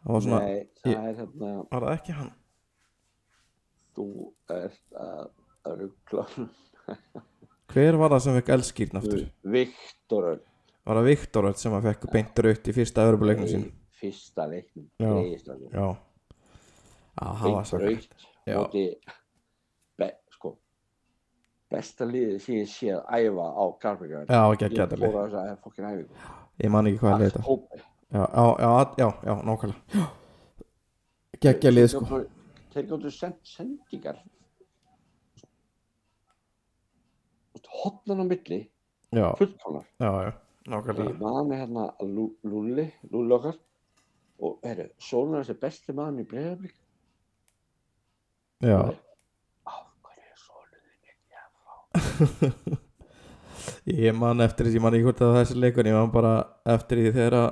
Speaker 1: Það var svona
Speaker 2: hérna, Nei, það er hérna
Speaker 1: Var það ekki hann?
Speaker 2: þú ert að að ruggla
Speaker 1: Hver var það sem fekk elskýrn aftur?
Speaker 2: Viktor Örn
Speaker 1: Var það Viktor Örn sem að fekk beint rautt í fyrsta öðrubuleiknum sín?
Speaker 2: í fyrsta leiknum
Speaker 1: Já.
Speaker 2: Breiðislandur.
Speaker 1: Já. Já, það var
Speaker 2: Beint
Speaker 1: svakar.
Speaker 2: rautt
Speaker 1: Já.
Speaker 2: móti be, sko, besta liðið sem ég sé að æfa á Garbergar
Speaker 1: Já, ekki að
Speaker 2: ég
Speaker 1: geta
Speaker 2: fór
Speaker 1: lið.
Speaker 2: á þess að fokkin æfingu
Speaker 1: Ég man ekki hvað að leita.
Speaker 2: Allt
Speaker 1: Já, já, já, já, já, nákvæmlega. Gekkja lið, sko.
Speaker 2: hópur. þeir gáttu send, sendingar hotnan á milli
Speaker 1: Já,
Speaker 2: fullkomnar
Speaker 1: já, já,
Speaker 2: ég
Speaker 1: nákvæmlega.
Speaker 2: mani hérna að Lú- Lúlli Lúlli okkar og herru, Sónar er besti maður í Breiðablik
Speaker 1: Já,
Speaker 2: á hverju er Sónar
Speaker 1: ég man eftir því, ég man ekki hvort að þessi leikun, ég man bara eftir því þegar að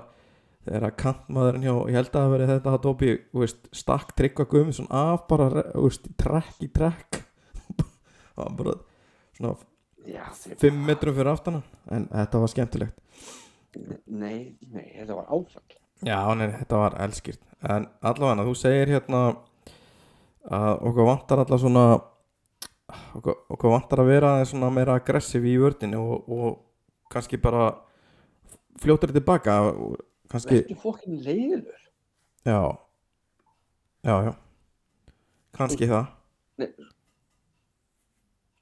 Speaker 1: þegar að kantmaðurinn hjá, ég held að það verið þetta að Dóbi, þú veist, stakk tryggva guðum svona af bara, þú veist, í trekk í trekk það var bara svona
Speaker 2: já, þeir
Speaker 1: fimm metrum fyrir aftana en þetta var skemmtilegt
Speaker 2: Nei, nei, þetta var áfall.
Speaker 1: Já, nei, þetta var elskýrt En allavega, þú segir hérna að okkur vantar allavega svona okkur, okkur vantar að vera aðeins svona meira aggressív í vördinu og, og kannski bara fljótur tilbaka og kannski,
Speaker 2: Vertu fokkin leiðilur.
Speaker 1: já Já, já Kannski það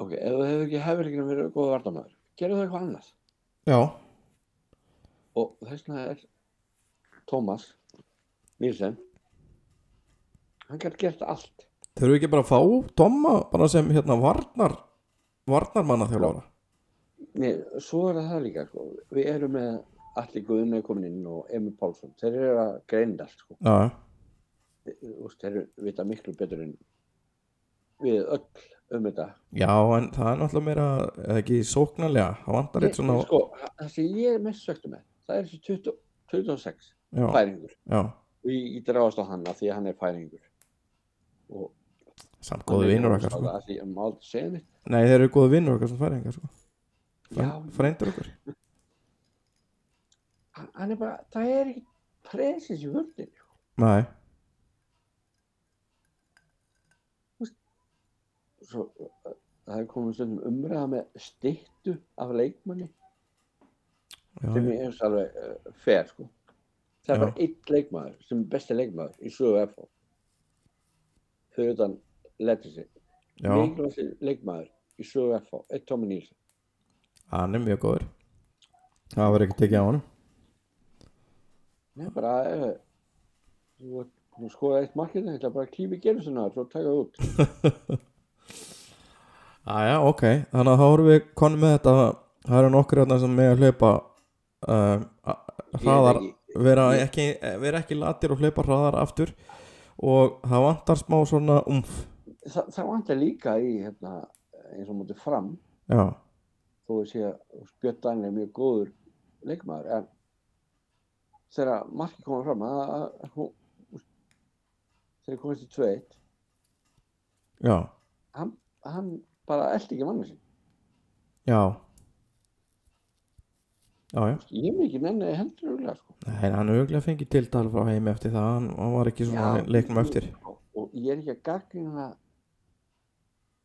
Speaker 2: Ok, ef þú hefur ekki hefurleikinu verið góða vartamæður, gerðu það eitthvað annað.
Speaker 1: Já,
Speaker 2: Og þess vegna er Tómas Nílsen, hann gæti gert allt.
Speaker 1: þau eru ekki bara að fá Tomma bara sem hérna varnar varnarmanna þjálfara
Speaker 2: Nei, svo er það líka, sko. Við erum með Alli Guðunni komin inn og Emil Pálsson. Þeir eru að greina allt, sko.
Speaker 1: Já,
Speaker 2: Þú veist, Þeir eru vita miklu betur en við öll um þetta.
Speaker 1: já, en það er náttúrulega meira eða ekki sóknarlega, það vantar eitt svona
Speaker 2: Sko, það sem ég er mest söktu með, það er þessi 20, 26
Speaker 1: Já,
Speaker 2: færingur.
Speaker 1: já
Speaker 2: og ég, ég drafast á hann af því að hann er færingur og
Speaker 1: Samt góðu vinnur okkar
Speaker 2: sko.
Speaker 1: sko.
Speaker 2: af því að maður aldrei segja neitt
Speaker 1: Nei, þeir eru góðu vinnur okkar sem færingar sko.
Speaker 2: já,
Speaker 1: Frændur okkar
Speaker 2: hann- hann er bara, það er ekki presens í völdin
Speaker 1: Nei,
Speaker 2: Svo, uh, það er komið stundum umræða með styttu af leikmanni
Speaker 1: já,
Speaker 2: sem
Speaker 1: já,
Speaker 2: ég hefst alveg uh, fer sko það
Speaker 1: Já.
Speaker 2: er bara einn leikmaður sem er besti leikmaður í sögu FH fyrir utan letið sig
Speaker 1: já,
Speaker 2: mikilvægasti leikmaður í sögu FH er Tommy Nílsson
Speaker 1: hann er mjög góður Það var ekki tekið á hann
Speaker 2: Nei, bara uh, þú ert búin að skoða eitt markið þetta bara að klífi gerðsuna og taka það út
Speaker 1: Æja, ok, þannig að þá erum við konum með þetta Það eru nokkur hérna sem með að hlaupa um, a- hraðar
Speaker 2: ekki-
Speaker 1: vera
Speaker 2: ég-
Speaker 1: ekki, vera ekki latir og hlaupa hraðar aftur og það vantar smá svona umf
Speaker 2: Þa, það vantar líka í hérna, eins og mútið fram
Speaker 1: Já,
Speaker 2: þó að sé að Björn Daniel er mjög góður leikmaður en þegar markið koma fram að, að, að, hún- þegar komist í 2-1
Speaker 1: já,
Speaker 2: hann, hann bara eldi ekki manni sín
Speaker 1: já Já, já
Speaker 2: ég hef ekki menni hendur örugglega, sko.
Speaker 1: Nei, hann auðvitað fengið tiltal frá heimi eftir það, hann, hann var ekki svona
Speaker 2: Já,
Speaker 1: leiknum
Speaker 2: ég-
Speaker 1: eftir.
Speaker 2: og, og ég er ekki að gagna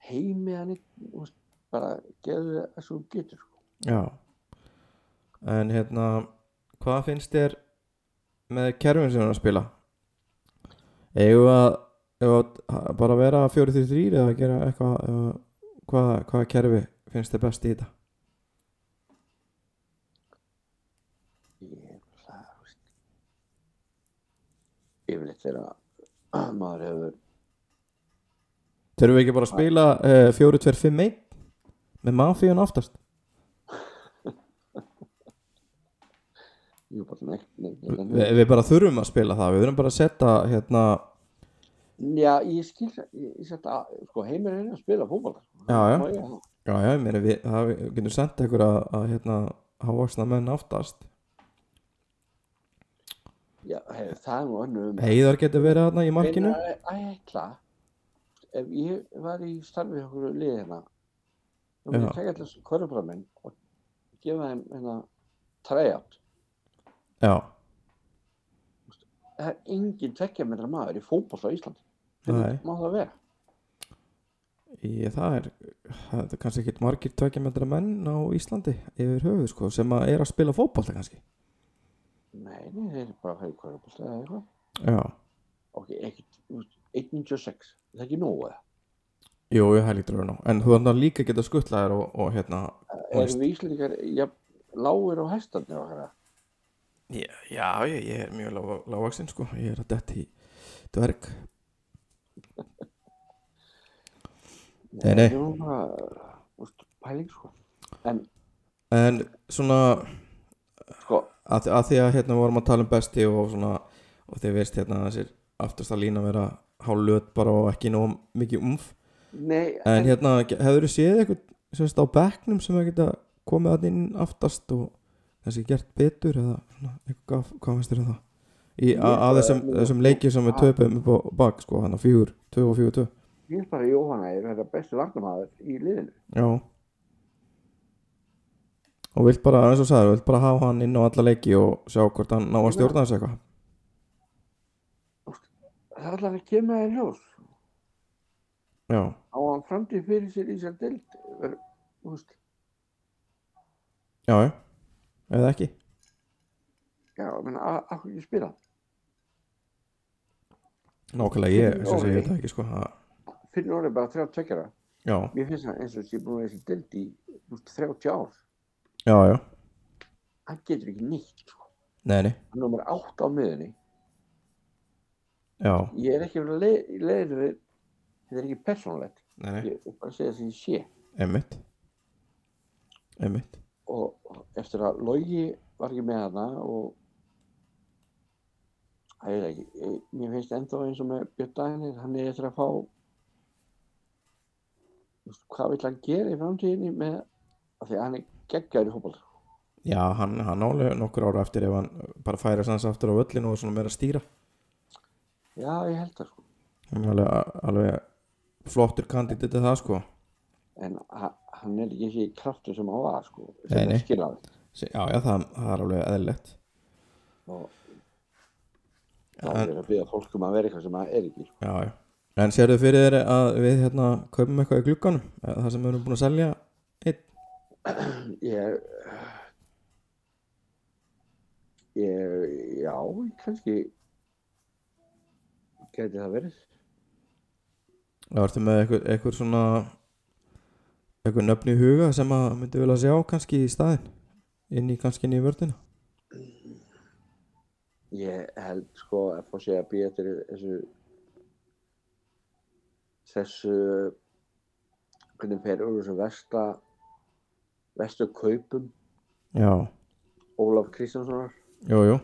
Speaker 2: heimi hann einn, þú veist, bara gerðu það sem þú getur sko.
Speaker 1: Já. En hérna, hvað finnst þér með kerfin sem hann er að spila? Eigum við að, eigum við að bara vera 4-3-3 eða gera eitthvað, eða hvað, hvaða kerfi finnst þér best í þetta?
Speaker 2: ég er það þú veist. yfirleitt þegar maður hefur
Speaker 1: Þurfum við ekki bara að spila uh, 4-2-5-1 með mafíun aftast?
Speaker 2: jú, bara, nek, nek,
Speaker 1: Vi,
Speaker 2: nek, nek.
Speaker 1: við bara þurfum að spila það, við þurfum bara að setja hérna,
Speaker 2: já, ég skil það ég, ég set að, sko, heimir er að spila sko. fótball
Speaker 1: Já, já.
Speaker 2: já,
Speaker 1: já, já, ég meina, við, það, við getum sendt ykkur að, að hérna, hafa vaksna menn aftast.
Speaker 2: já hef, það er nú önnu um
Speaker 1: Heiðar getur verið þarna í markinu
Speaker 2: að ætla ef ég var í starfi hjá okkur liði hérna þá
Speaker 1: Já.
Speaker 2: mér tekja allir korfbramenn og gefa þeim hérna tryout
Speaker 1: Já,
Speaker 2: það er engin tvekja metra maður í fótboll á Íslandi
Speaker 1: Nei.
Speaker 2: hvernig má það vera
Speaker 1: Ég, það er, það er kannski ekkit margir tveikjamöldra menn á Íslandi yfir höfuð sko, sem að er að spila fótbolta kannski
Speaker 2: Nei, nei, þeir eru bara að fara í kvörubólta eða eitthvað.
Speaker 1: Já,
Speaker 2: Ok, ekkert, þú veist, 196, er það er ekki nógu eða.
Speaker 1: jú, ég hef lítur að vera ná en þú þannig að líka geta skuttlaðir og, og hérna
Speaker 2: Erum við Íslendingar, já, lágir á hestarnir okkar eða?
Speaker 1: ég, Já, ég, ég er mjög lág, lágvaksinn sko, ég er að detti í dverg Nei, nei.
Speaker 2: Það er nú bara, þú veist, pæling sko. En,
Speaker 1: En svona
Speaker 2: sko,
Speaker 1: að, að því að hérna vorum að tala um besti og svona og þið veist hérna þessir aftast að lína vera hálflöt bara og ekki nóg mikið umf
Speaker 2: nei,
Speaker 1: en hérna hefur þið séð eitthvað semst á bekknum sem að geta komið að inn aftast og kannski gert betur eða svona eitthvað, hvað- hvað finnst þér um það í, að, að þessum, þessum leikjum sem við töpum upp á bak sko hann að fjögur, tvö og fjögur, tvö
Speaker 2: ég er bara Jóhanna, ég er þetta besti varnamæður í liðinu.
Speaker 1: já og vilt bara, eins og sagður, vilt bara hafa hann inn á alla leiki og sjá hvort hann ná að stjórna þessu eitthvað
Speaker 2: Það er alltaf að kemur þér ljós.
Speaker 1: já,
Speaker 2: Á hann framtíð fyrir sér í sér dild, þú veist,
Speaker 1: já, já, eða ekki
Speaker 2: já, ég meina, að- af hverju ekki spila hann?
Speaker 1: Nákvæmlega ég, eins og segja, ég veit það ekki sko að,
Speaker 2: Finnur orðið bara 32 ára.
Speaker 1: Já,
Speaker 2: Mér finnst það eins og sé búin að vera í þessi dild í þú veist, 30 ár.
Speaker 1: já, já,
Speaker 2: Hann getur ekki nýtt, sko.
Speaker 1: nei, nei,
Speaker 2: Hann er nummer 8 á miðunni.
Speaker 1: já,
Speaker 2: Ég er ekki verið að leiðinu við, þetta er ekki persónulegt.
Speaker 1: nei, nei,
Speaker 2: Ég er bara að segja það sem ég sé.
Speaker 1: emmitt Emmitt,
Speaker 2: Og eftir að Logi var ekki með hana og Það er ekki, ég- mér finnst ennþá eins og með Björn Dænir, hann er eftir að fá þú veist, hvað vill hann gera í framtíðinni með af því að hann er geggjaður í sko. fótball
Speaker 1: já, hann, hann álega nokkur ára eftir ef hann bara færa sanns aftur á völlinu og svona meira að stýra
Speaker 2: Já, ég held það sko
Speaker 1: Hann er alveg, alveg flottur kandidati það sko
Speaker 2: en ha- hann er ekki þessi kraftur sem hann var sko
Speaker 1: Nei,
Speaker 2: sem
Speaker 1: nei.
Speaker 2: hann skilaði
Speaker 1: Sí, Já, já, það, það er alveg eðlilegt
Speaker 2: og þá er að byggja fólk um að vera eitthvað sem hann er ekki sko.
Speaker 1: Já, já En sérðu fyrir þér að við hérna kaupum eitthvað í glugganum, eða það sem við erum búin að selja einn,
Speaker 2: ég ég, já, kannski gæti það verið
Speaker 1: eða ertu með eitthvað, eitthvað svona eitthvað nöfn í huga sem að myndi vilja sjá kannski í staðinn inn í kannski inn í vördina
Speaker 2: ég held sko að fór sé að býja eftir þessu þessu hvernig fer úr þessu versta vestu kaupum
Speaker 1: Já,
Speaker 2: Ólaf Kristjánssonar
Speaker 1: jú, jú,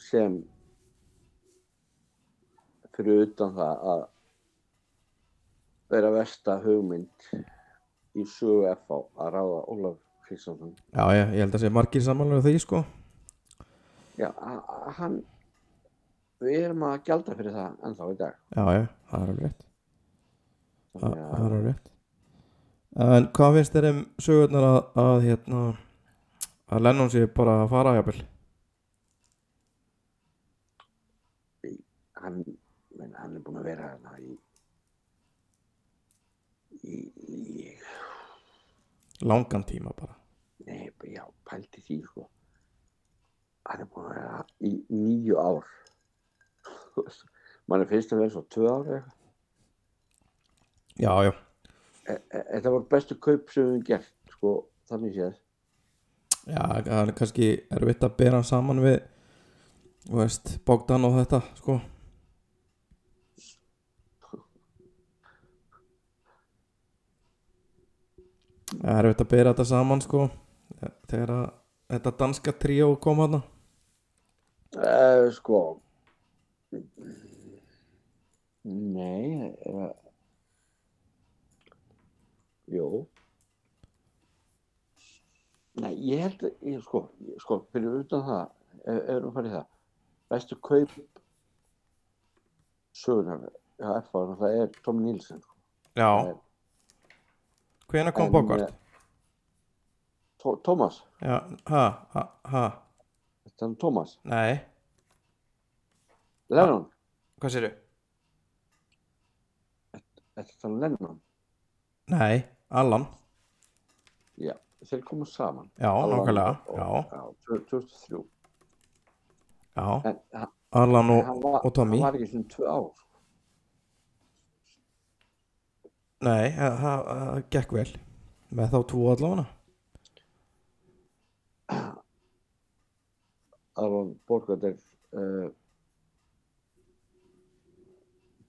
Speaker 2: sem fyrir utan það að vera versta hugmynd í sögu FH að ráða Ólaf Kristjánsson
Speaker 1: já, ég, ég held að sé margir samanlega því sko
Speaker 2: já, a- a- hann við erum að gjalda fyrir það ennþá í dag
Speaker 1: Já, já, það er alveg rétt Það
Speaker 2: Þannig
Speaker 1: það
Speaker 2: að-
Speaker 1: er alveg rétt En hvað finnst þér um sögurnar að, að hérna að Lennon sé bara að fara jafnvel
Speaker 2: hann, menn, hann er búinn að vera hana í, í, í
Speaker 1: langan tíma bara
Speaker 2: nei, já, pældi því sko hann er búinn að vera í nýju ár mann er finnst að vera svo tvö ár eða eitthvað.
Speaker 1: Já, já,
Speaker 2: E- e- þetta voru bestu kaup sem við höfum gert sko, þannig séð
Speaker 1: já, það er kannski erfitt að bera hann saman við þú veist, Bogdan og þetta sko Það er erfitt að bera þetta saman sko þegar að þetta danska tríó kom hana
Speaker 2: e, sko nei e, jú nei, ég held ég, sko, ég, sko, fyrir utan það ef ef við erum farið í það bestu kaup sögunar já, FH, það er Tom Nílsen sko.
Speaker 1: Já Hvenær kom
Speaker 2: En,
Speaker 1: Bogart?
Speaker 2: eh, Tó- Thomas,
Speaker 1: Já, ha, ha, ha
Speaker 2: þetta er hann um Thomas
Speaker 1: Nei,
Speaker 2: Lennon,
Speaker 1: hvað sérðu?
Speaker 2: Þetta er þannig um Lennon.
Speaker 1: Nei, Allan
Speaker 2: Já, þeir komu saman.
Speaker 1: Já, nákvæmlega, já.
Speaker 2: já. tvö- 2003.
Speaker 1: Já,
Speaker 2: En hann,
Speaker 1: Allan og,
Speaker 2: hann, var,
Speaker 1: og Tommy
Speaker 2: hann var ekki svona tvö ár.
Speaker 1: Nei, það- það það gekk vel með þá tvo allavega
Speaker 2: Aron Borgard er uh,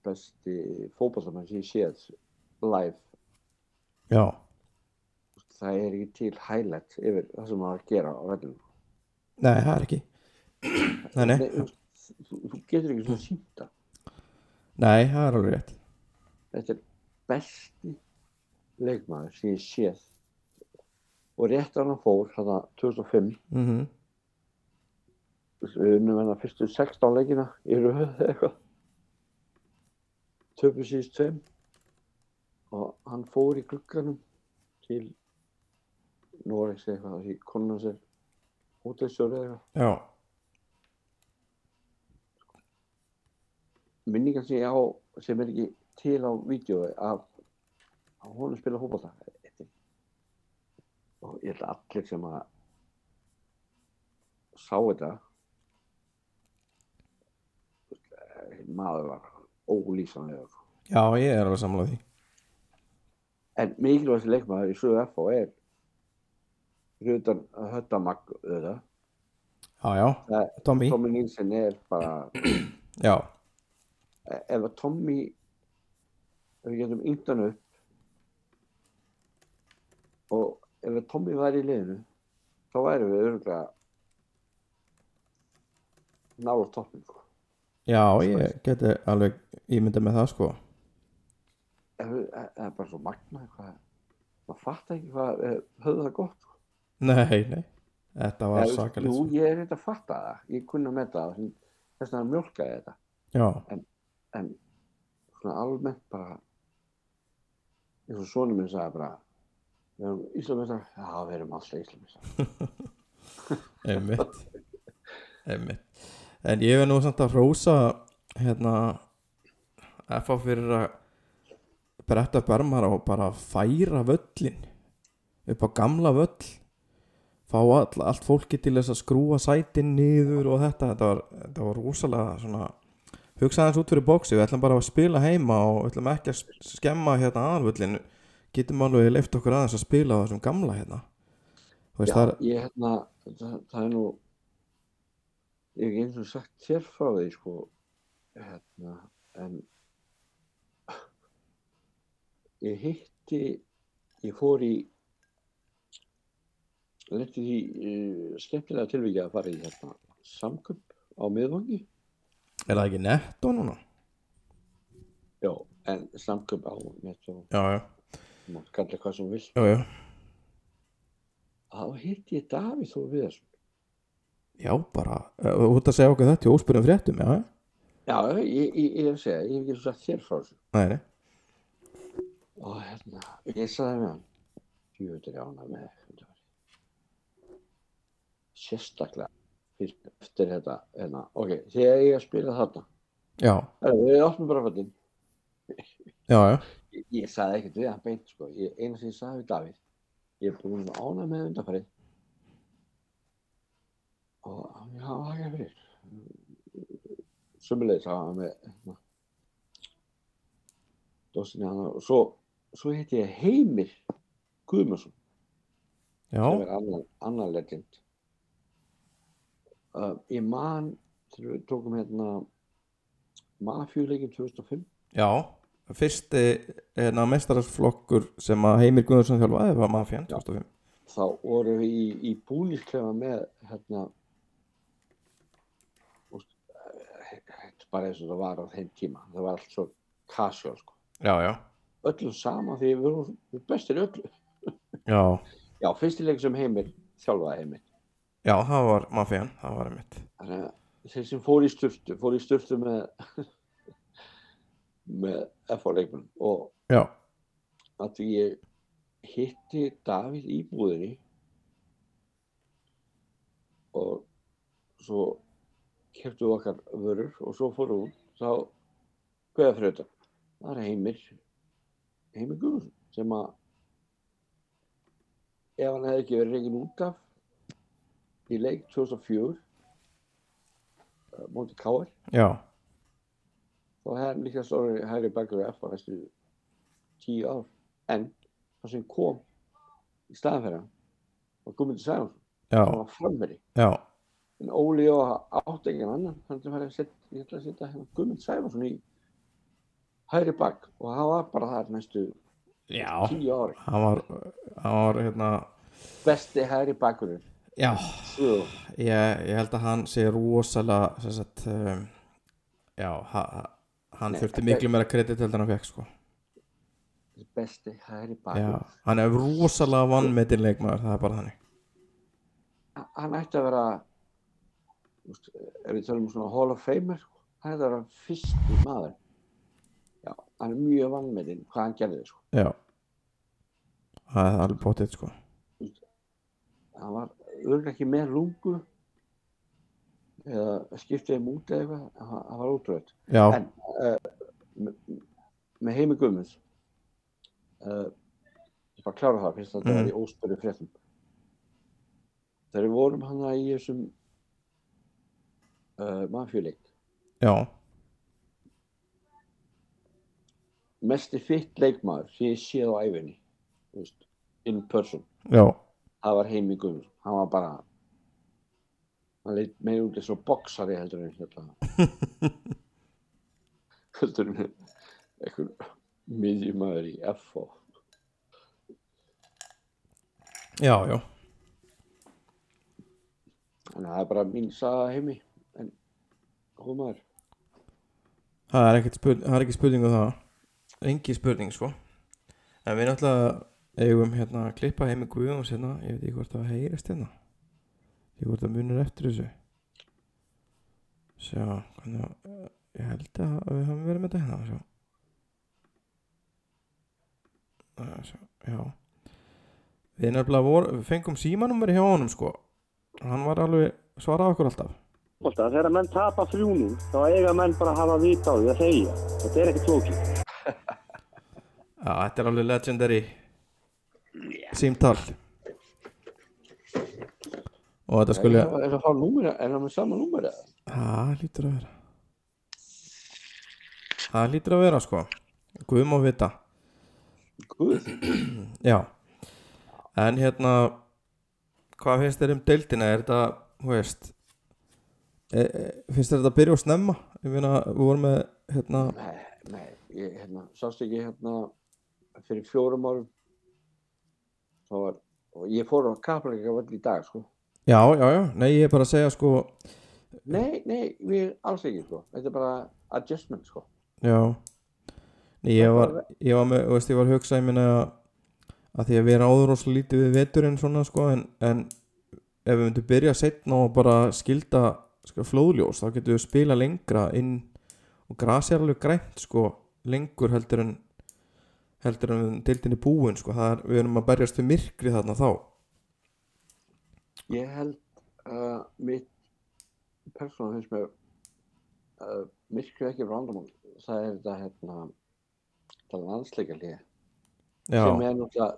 Speaker 2: besti fótballamenn sem ég séð live.
Speaker 1: Já,
Speaker 2: Það er ekki til highlight yfir það sem hann er að gera á vellinum.
Speaker 1: nei, það er ekki Nei, nei,
Speaker 2: Nei, þú- þú, þú getur ekki svona sínta.
Speaker 1: nei, það er alveg rétt
Speaker 2: Þetta er besti leikmaður sem ég séð og rétt að hann fór hann 2005
Speaker 1: mm
Speaker 2: við unnum hennar fyrstu 16 leikina í röð eða eitthvað töpu síðust tveim og hann fór í glugganum til Noregs eða eitthvað því konan sér hótelstjóri eða eitthvað
Speaker 1: Já,
Speaker 2: minningar sem ég á sem er ekki til á vídjói af að hún spila hópað og ég held að allir sem að sá þetta eh, maður var ólýsanlegur
Speaker 1: já, ég er alveg samlega því
Speaker 2: En mikilvægast leikmaður í sögu FH er hrutan höttamag auðvitað.
Speaker 1: Já, já,
Speaker 2: Það-
Speaker 1: Tommy
Speaker 2: Tommy Nilsen er bara,
Speaker 1: Já,
Speaker 2: ef að Tommy, ef við getum yngt hann upp og ef að Tommy væri í liðinu, þá væri við örgulega nála toppin. sko.
Speaker 1: já, ég geti alveg ímyndað með það sko
Speaker 2: Ef við- Það er bara svo magna eitthvað, maður fattar ekki hvað eh, höfðu það gott. sko.
Speaker 1: Nei, nei, þetta var
Speaker 2: Eða,
Speaker 1: sakalegt
Speaker 2: Jú,
Speaker 1: sko.
Speaker 2: ég er eitthvað að fatta það, ég kunna með það, þess vegna mjölkaði þetta.
Speaker 1: Já,
Speaker 2: en svona almennt bara eins og sonur minn sagði bara við erum Íslamistrar, já við erum alltaf Íslamistrar
Speaker 1: einmitt Einmitt En ég er nú samt að hrósa hérna FA fyrir að bretta upp ermar og bara færa völlin upp á gamla völl fá all, allt fólki til þess að skrúa sætin niður og þetta þetta var, þetta var rosalega svona hugsaðans út fyrir bóksi, við ætlum bara að spila heima og við ætlum ekki að s- skemma hérna aðanvöllin, getum alveg leift okkur aðeins að spila á þessum gamla hérna þú veist það er,
Speaker 2: ég hérna, það, það er nú ég hef ekki eins og sagt þér frá því sko hérna, en ég hitti ég fór í lendi því uh, skemmtilega tilvíkja að fara í hérna samkup á miðvangi
Speaker 1: er það ekki netto núna?
Speaker 2: Já, en samköp á net og
Speaker 1: Já, já,
Speaker 2: mátt kalla hvað sem þú vill.
Speaker 1: já, já.
Speaker 2: Þá hitti ég Davíð Þór Viðarsson.
Speaker 1: Já, bara, eh, þú ert að segja okkur þetta í óspyrum fréttum, já, já.
Speaker 2: Já, ég, ég, ég hef segja, ég hef ekki sagt þér frá þessu.
Speaker 1: Nei, nei,
Speaker 2: Og hérna, ég sagði með hann, djöður ána með þetta. Sérstaklega, fyrir, eftir þetta, hérna, ok, þegar ég að spila þarna,
Speaker 1: já,
Speaker 2: Herra, við opnum bara fættin.
Speaker 1: já, já,
Speaker 2: Ég, ég sagði ekkert við hann beint, sko, ég, eina sem ég sagði við Davíð, ég er búin að ána með undanfarið. Og hann, já, það er ekki fyrir. sömulegis að hann með hérna, dósinni hann og svo, svo heiti ég Heimir Guðmundsson sem
Speaker 1: já,
Speaker 2: er annar, annar legend uh, ég man þegar við tókum hérna mafjuleikin 2005
Speaker 1: já. Fyrsti hérna, mestarasflokkur sem að Heimir Guðnarsson þjálfaði var Mafjan 2005.
Speaker 2: þá vorum við í, í búningsklefa með hérna úst, eh, þetta er bara eins og það var á þeim tíma það var allt svo casual sko.
Speaker 1: Já, já,
Speaker 2: öllum sama því við vorum bestir í öllu
Speaker 1: já,
Speaker 2: Já, fyrstileik sem heimir, þjálfaði heimir.
Speaker 1: já, það var Mafjan, það var einmitt.
Speaker 2: Þannig að þeir sem fór í sturtu, fór í sturtu með, með FH-leikmenn og
Speaker 1: Já,
Speaker 2: að því ég hitti Davíð í búðinni og svo keftum við okkar vörur og svo fórum við út, þá hvað er fyrir þetta? Það er heimir, Heimir Guðmundsson sem að ef hann hefði ekki verið reygin út af í leik 2004 uh, móti Káir
Speaker 1: já,
Speaker 2: þá hefði hann líka stórið hægri bakur F á næstu tíu ár en það sem kom í staðan fyrir hann var Guðmundur Sæjónsson
Speaker 1: já,
Speaker 2: hann var framveri
Speaker 1: já
Speaker 2: en Óli og átti engin annan hann til að fara að setja, ég ætla að setja hérna Guðmund Sæjónsson í hægri bak og hann var bara þar næstu
Speaker 1: já,
Speaker 2: tíu ári
Speaker 1: hann var hann var hérna
Speaker 2: besti hægri bakurinn
Speaker 1: já,
Speaker 2: Svo,
Speaker 1: ég, ég held að hann sé rosalega sem sagt, um, já, ha, ha- hann
Speaker 2: Nei,
Speaker 1: þurfti
Speaker 2: þetta-
Speaker 1: miklu meira kredit heldur en hann fekk sko
Speaker 2: besti hægri
Speaker 1: já,
Speaker 2: bakurinn
Speaker 1: hann er rosalega vannmetinn leikmaður, það er bara þannig
Speaker 2: H- hann ætti að vera þú veist, ef við tölum um svona Hall of Famer sko, hann ætti að vera fyrsti maður já, hann er mjög vannmetinn hvað hann gerði sko.
Speaker 1: já það er alveg bóttið sko
Speaker 2: hann var örgulega ekki með lungu eða skiptið um út eða eitthvað en hann, hann var útröð
Speaker 1: já,
Speaker 2: En- með heimi guðmunds uh, ég bara klára það fyrst að þetta
Speaker 1: Mhm.
Speaker 2: er í óspöru fréttum þegar við vorum hann í þessum uh, mafjuleik
Speaker 1: já,
Speaker 2: mesti fitt leikmaður sem ég séð á æfinni þú veist, in person
Speaker 1: já
Speaker 2: það var heimi guðmunds hann var bara hann leitt meira út eins og boksari heldur en hérna heldur en einhver miðjumæður í FO
Speaker 1: já, já,
Speaker 2: en það er bara mín saga heimi en góð maður
Speaker 1: það er, ekkert spurning, það er ekki spurning um það engi spurning sko en við náttúrulega eigum hérna að klippa heimi guðum og sérna hérna. ég veit ekki hvort það heyrist hérna ég hvort það munir eftir þessu sjá hvernig að ég held að við höfum verið með þetta hérna sjá Eh, sjá, já við nefnilega vor, fengum símanúmer hjá honum sko hann var alveg svaraði okkur alltaf
Speaker 3: fótbolta, þegar menn tapa þrjúnum þá eiga menn bara að hafa vita á því að þegja þetta er ekki klókið
Speaker 1: Já, þetta er alveg legendary símtal og þetta
Speaker 2: er
Speaker 1: skulle
Speaker 2: það er það að fá númera, er það með sama númera
Speaker 1: það lítur að vera það lítur að vera sko guð má vita
Speaker 2: guð,
Speaker 1: já en hérna hvað finnst þér um deildina er þetta, þú veist e, e, finnst þér þetta að byrja og snemma ég meina, við vorum með hérna,
Speaker 2: nei, nei ég, hérna, sást ekki hérna fyrir fjórum árum þá var, og ég fór á kaplækja völd í dag sko
Speaker 1: já, já, já, nei ég er bara að segja sko
Speaker 2: Nei, nei, við alls ekki sko. Þetta er bara adjustment sko.
Speaker 1: Já Nei, ég var, ég var með, þú veist, ég var að hugsa ég minna að því að við erum áður rosa lítið við veturinn svona sko en, en ef við myndum byrja setna og bara skilda sko, flóðljós þá getum við spila lengra inn og grasi er alveg grænt sko lengur heldur en heldur en deildin er búin sko það er, við erum að berjast við myrkri þarna þá
Speaker 2: Ég held uh, mitt persónum finnst mér uh, myrkrið ekki randamál. Það er þetta hérna það er landsleika liða sem
Speaker 1: Já,
Speaker 2: er náttúrulega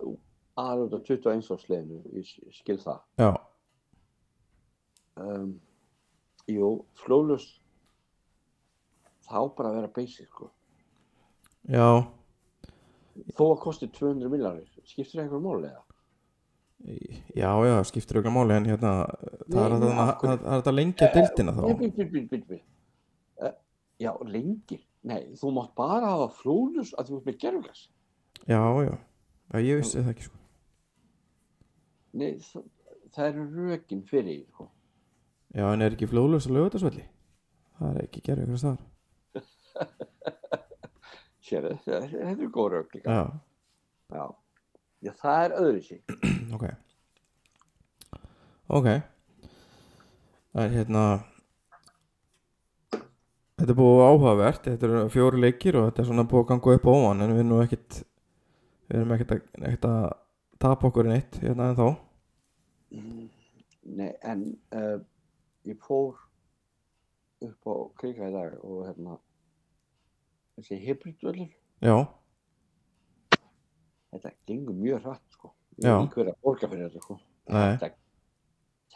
Speaker 2: aðrjóta 21 ársleginu, ég s- ég skil það.
Speaker 1: já,
Speaker 2: Um, jú, flóðlust þá bara að vera basic sko.
Speaker 1: já
Speaker 2: Þó að kosti 200 millarnir, skiptir það einhverjum máli eða?
Speaker 1: Já, já, skiptir auðvitað máli en hérna það er hægt
Speaker 2: Nei,
Speaker 1: að-
Speaker 2: nei, af hverju?
Speaker 1: það er hægt að lengja deildina þá
Speaker 2: Nei, bíl, bíl, bíl, bíl, bíl. Uh, já, lengi. Nei, þú mátt bara hafa flóðljós að þú ert með gerfugas.
Speaker 1: Já, já, já ég vissi það ekki sko.
Speaker 2: Nei, það, það eru rökin fyrir því, sko.
Speaker 1: Já, en er ekki flóðlösa lögutasvelli? Það er ekki gerðið ykkur þar.
Speaker 2: Sérðu, þetta þetta er góð rök líka.
Speaker 1: Já,
Speaker 2: Já. Já, það er öðru sík.
Speaker 1: ok. Ok. Það er hérna... Þetta er búið áhugavert, þetta eru fjóri leikir og þetta er svona búið að ganga upp og ofan en við erum nú ekkit, við erum ekkit að, ekkit að tapa okkur í neitt hérna en þá.
Speaker 2: Nei, en uh, ég fór upp á krika í dag og hérna þessi hybridvöllur,
Speaker 1: Já,
Speaker 2: þetta gengur mjög hratt sko. Ég
Speaker 1: Já.
Speaker 2: er ekki verið að borga fyrir þetta sko.
Speaker 1: Nei.
Speaker 2: Þetta,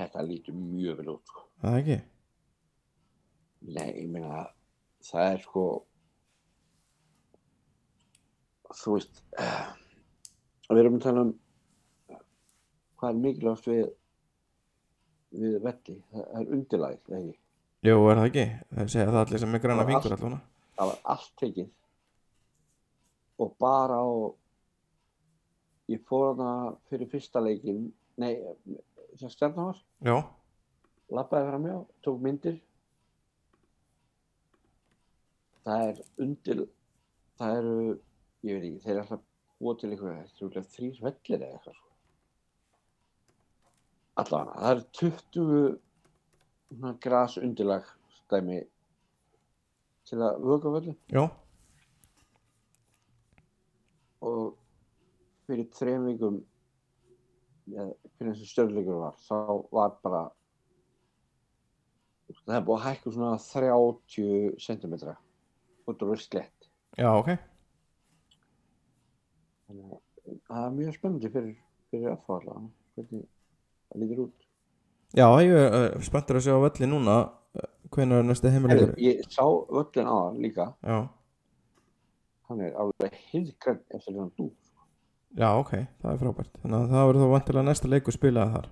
Speaker 2: þetta lítur mjög vel út sko.
Speaker 1: það ekki
Speaker 2: Nei, ég meina það er sko þú veist eh, við erum að tala um hvað er mikilvægt við við velli, það er undirlæg ekki,
Speaker 1: Jú, er það ekki? Það segja það allir sem er granna
Speaker 2: Það var
Speaker 1: fingur allavega
Speaker 2: það var allt tekið og bara á ég fór hana fyrir fyrsta leikin nei, sem stjarnar var
Speaker 1: Já,
Speaker 2: lappaði fram hjá, tók myndir það er undir það eru, ég veit ekki þeir eru alltaf búa til eitthvað þrjúlega þrýr vellir eða eitthvað sko. allavega, það eru 20 svona gras undirlag stæmi til að vöka völlum
Speaker 1: já,
Speaker 2: og fyrir þrejum vikum eða fyrir þessi stjórnleikur var þá var bara það er búið að hækka svona 30 cm út úr slett
Speaker 1: já, ok
Speaker 2: þannig að það er mjög spennandi fyrir, fyrir að fá allavega hvernig það lítur út
Speaker 1: Já, ég er uh, spenntur að sjá velli núna eh, Hvenær er næsti
Speaker 2: Heru,
Speaker 1: heimilegur?
Speaker 2: ég sá völlin á hann líka
Speaker 1: Já,
Speaker 2: hann er alveg hildgrann eftir hann dú
Speaker 1: já, ok, það er frábært Þannig að það verður þá vantilega næsta leikur spilaði þar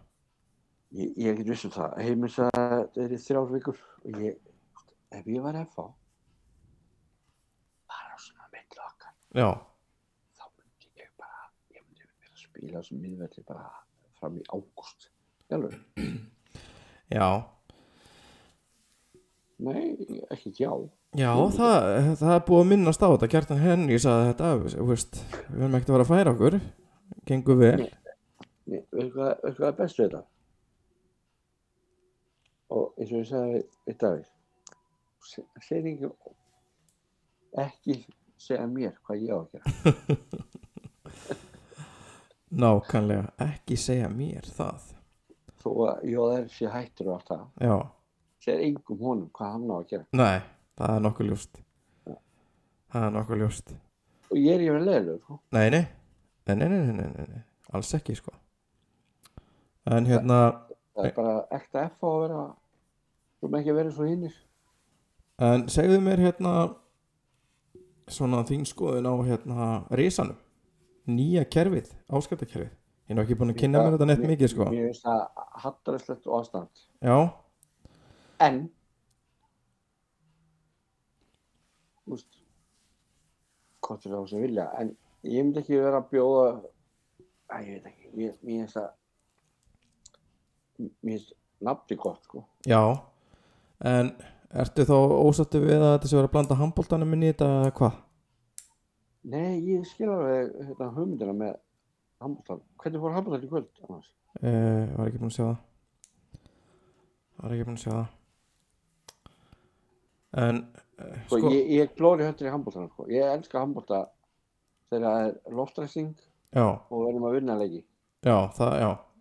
Speaker 2: ég, ég er ekki viss um það heimins að þetta er í þrjár vikur og ég, ef ég var að fá bara svona mitt okkar
Speaker 1: Já,
Speaker 2: þá myndi ég bara ég myndi vera að spila sem miðverði bara fram í ágúst Jálfur,
Speaker 1: já,
Speaker 2: nei, ekki já
Speaker 1: já, það, það er búið að minnast á þetta Kjartan Henry sagði þetta, þú veist Við verðum ekkert að vera að færa okkur Gengur vel,
Speaker 2: Nei, veistu hvað veistu hvað er best við þetta og eins og ég sagði við- við Davíð se- segir engin ekki segja mér hvað ég á að gera
Speaker 1: nákvæmlega Ekki segja mér það
Speaker 2: þó að ég á þær sé hættur og allt það
Speaker 1: Já,
Speaker 2: segir engum honum hvað hann á að gera
Speaker 1: nei, það er nokkuð ljóst Það er nokkuð ljóst
Speaker 2: og ég er ég verið leiðilegur sko.
Speaker 1: Nei, nei, nei, nei, nei, nei, nei, nei, nei. alls ekki sko En hérna,
Speaker 2: það er bara ekta F að vera þú með ekki að vera svo hinnir
Speaker 1: en segðu mér hérna svona þín skoðun á hérna risanum, nýja kerfið, áskaptakerfið Ég er nú ekki búin að kynna mér þetta neitt mikið sko
Speaker 2: Mér finnst það hattaræslegt og aðstand
Speaker 1: Já,
Speaker 2: En Þú veist Hvort er það sem vilja En ég myndi ekki vera að bjóða Æ, ég veit ekki Mér mér finnst það Mér finnst nafni gott sko
Speaker 1: já, en ertu þá ósattu við að þetta sé verið að blanda handbóltanum inn í þetta eða hvað?
Speaker 2: Nei, ég skil alveg hérna, hugmyndina með Hamboltan Hvernig fór Hamboltan í kvöld? Annars?
Speaker 1: Uh, var ekki búin að sjá það Var ekki búin að sjá það En uh,
Speaker 2: Sko, Ég, ég er glóri höndur í Hamboltan sko. Ég elska Hambolta þegar það er loftræsing
Speaker 1: Já,
Speaker 2: og við erum að vinna leiki
Speaker 1: já, það, já Það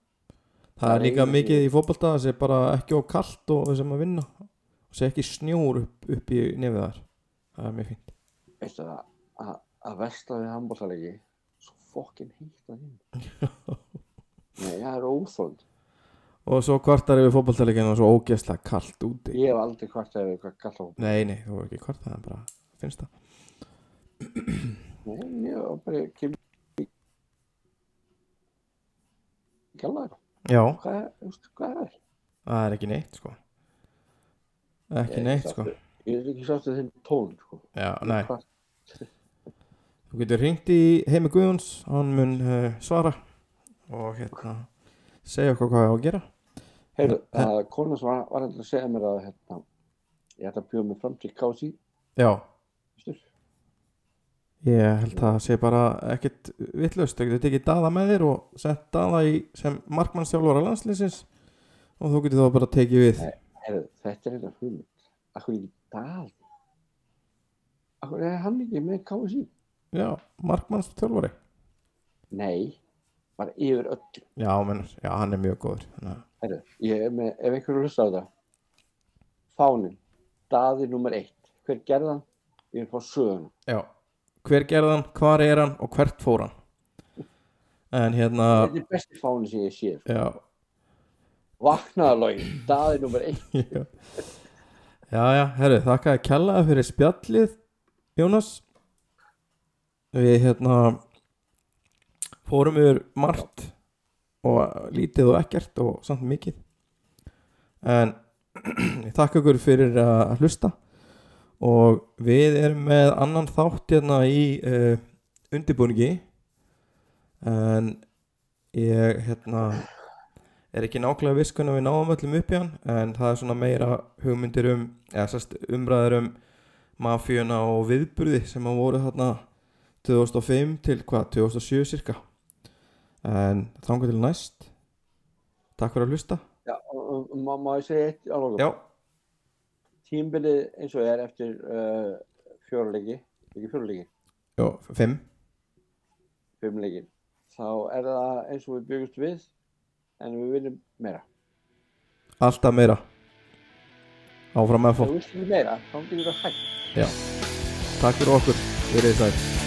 Speaker 2: Það
Speaker 1: er
Speaker 2: er
Speaker 1: líka
Speaker 2: einu
Speaker 1: mikið í fótbolta það sé bara ekki of kalt og við sem að vinna og sé ekki snjór upp, upp í nefið þar Það er mjög fínt
Speaker 2: veistu það, að, að vestla við handbóltalegi svo fokkin heitt að hinn Nei, það er óþónd
Speaker 1: Og svo kvartar yfir fótboltaleginu og svo ógeðslega kalt úti
Speaker 2: Ég hef aldrei kvartað við hvað galla hópa
Speaker 1: Nei, nei, þú er ekki kvartað en bara finnst það
Speaker 2: Nei, ég var bara kem Galla þér,
Speaker 1: Já,
Speaker 2: hvað er, þú veist, hvað er það?
Speaker 1: það er ekki neitt sko Ekki
Speaker 2: Ég-
Speaker 1: neitt sko
Speaker 2: Ég er ekki sátt að þinn tón, sko
Speaker 1: Já, nei,
Speaker 2: Hvað-
Speaker 1: þú getur ringt í heimi Guðjóns hann mun uh, svara og hérna segja okkur hvað ég á að gera
Speaker 2: Heyrðu, það er kona sem var, var að segja mér að hérna, ég ætla að bjóða mig fram til KC
Speaker 1: Já,
Speaker 2: veistu?
Speaker 1: Ég held að það sé bara ekkit vittlust, þú getur tekið daða með þér og sett daða í sem markmannstjálfara landslýsins og þú getur þá bara tekið við.
Speaker 2: Nei. Heyrðu, þetta er hérna hugmynd Akkur ekki dal Akkur er hann ekki með KC
Speaker 1: Já, markmannstjálfari.
Speaker 2: Nei, bara yfir öllu.
Speaker 1: Já, menn, já, hann er mjög góður. Þannig að,
Speaker 2: Herru, ég er með, ef einhverju hlusta á þetta, fáninn, daði nummer eitt. Hver gerði hann? Ég vil fá söguna.
Speaker 1: já, hver gerði hann, hvar er hann og hvert fór hann? en hérna
Speaker 2: Þetta er besti fáni sem ég sé. sko.
Speaker 1: já,
Speaker 2: Vaknaðarlögin, daði nummer eitt.
Speaker 1: já já, já, herru, þakka að kjallaði fyrir spjallið Jónas við hérna fórum yfir margt og lítið og ekkert og samt mikið en ég þakka ykkur fyrir að hlusta og við erum með annan þátt hérna í uh, undirbúningi en ég hérna er ekki nákvæmlega viss hvernig við náum öllum upp í hann en það er svona meira hugmyndir um eða sérst umræðir um mafíuna og viðburði sem að voru þarna 2005 til hvað, 2007 cirka en þangar til næst takk fyrir að hlusta
Speaker 2: Já, og- og- má má ég segja eitt á lokum?
Speaker 1: já,
Speaker 2: Tímbilið eins og er eftir uh, fjórleiki, ekki fjórleiki,
Speaker 1: já, 5
Speaker 2: fimmleiki. Þá er það eins og við byggust við, en við vinnum meira.
Speaker 1: alltaf meira áfram með
Speaker 2: Ef
Speaker 1: fólk
Speaker 2: við vinnum meira, þá getur við hægt.
Speaker 1: takk fyrir okkur, verið þið sæl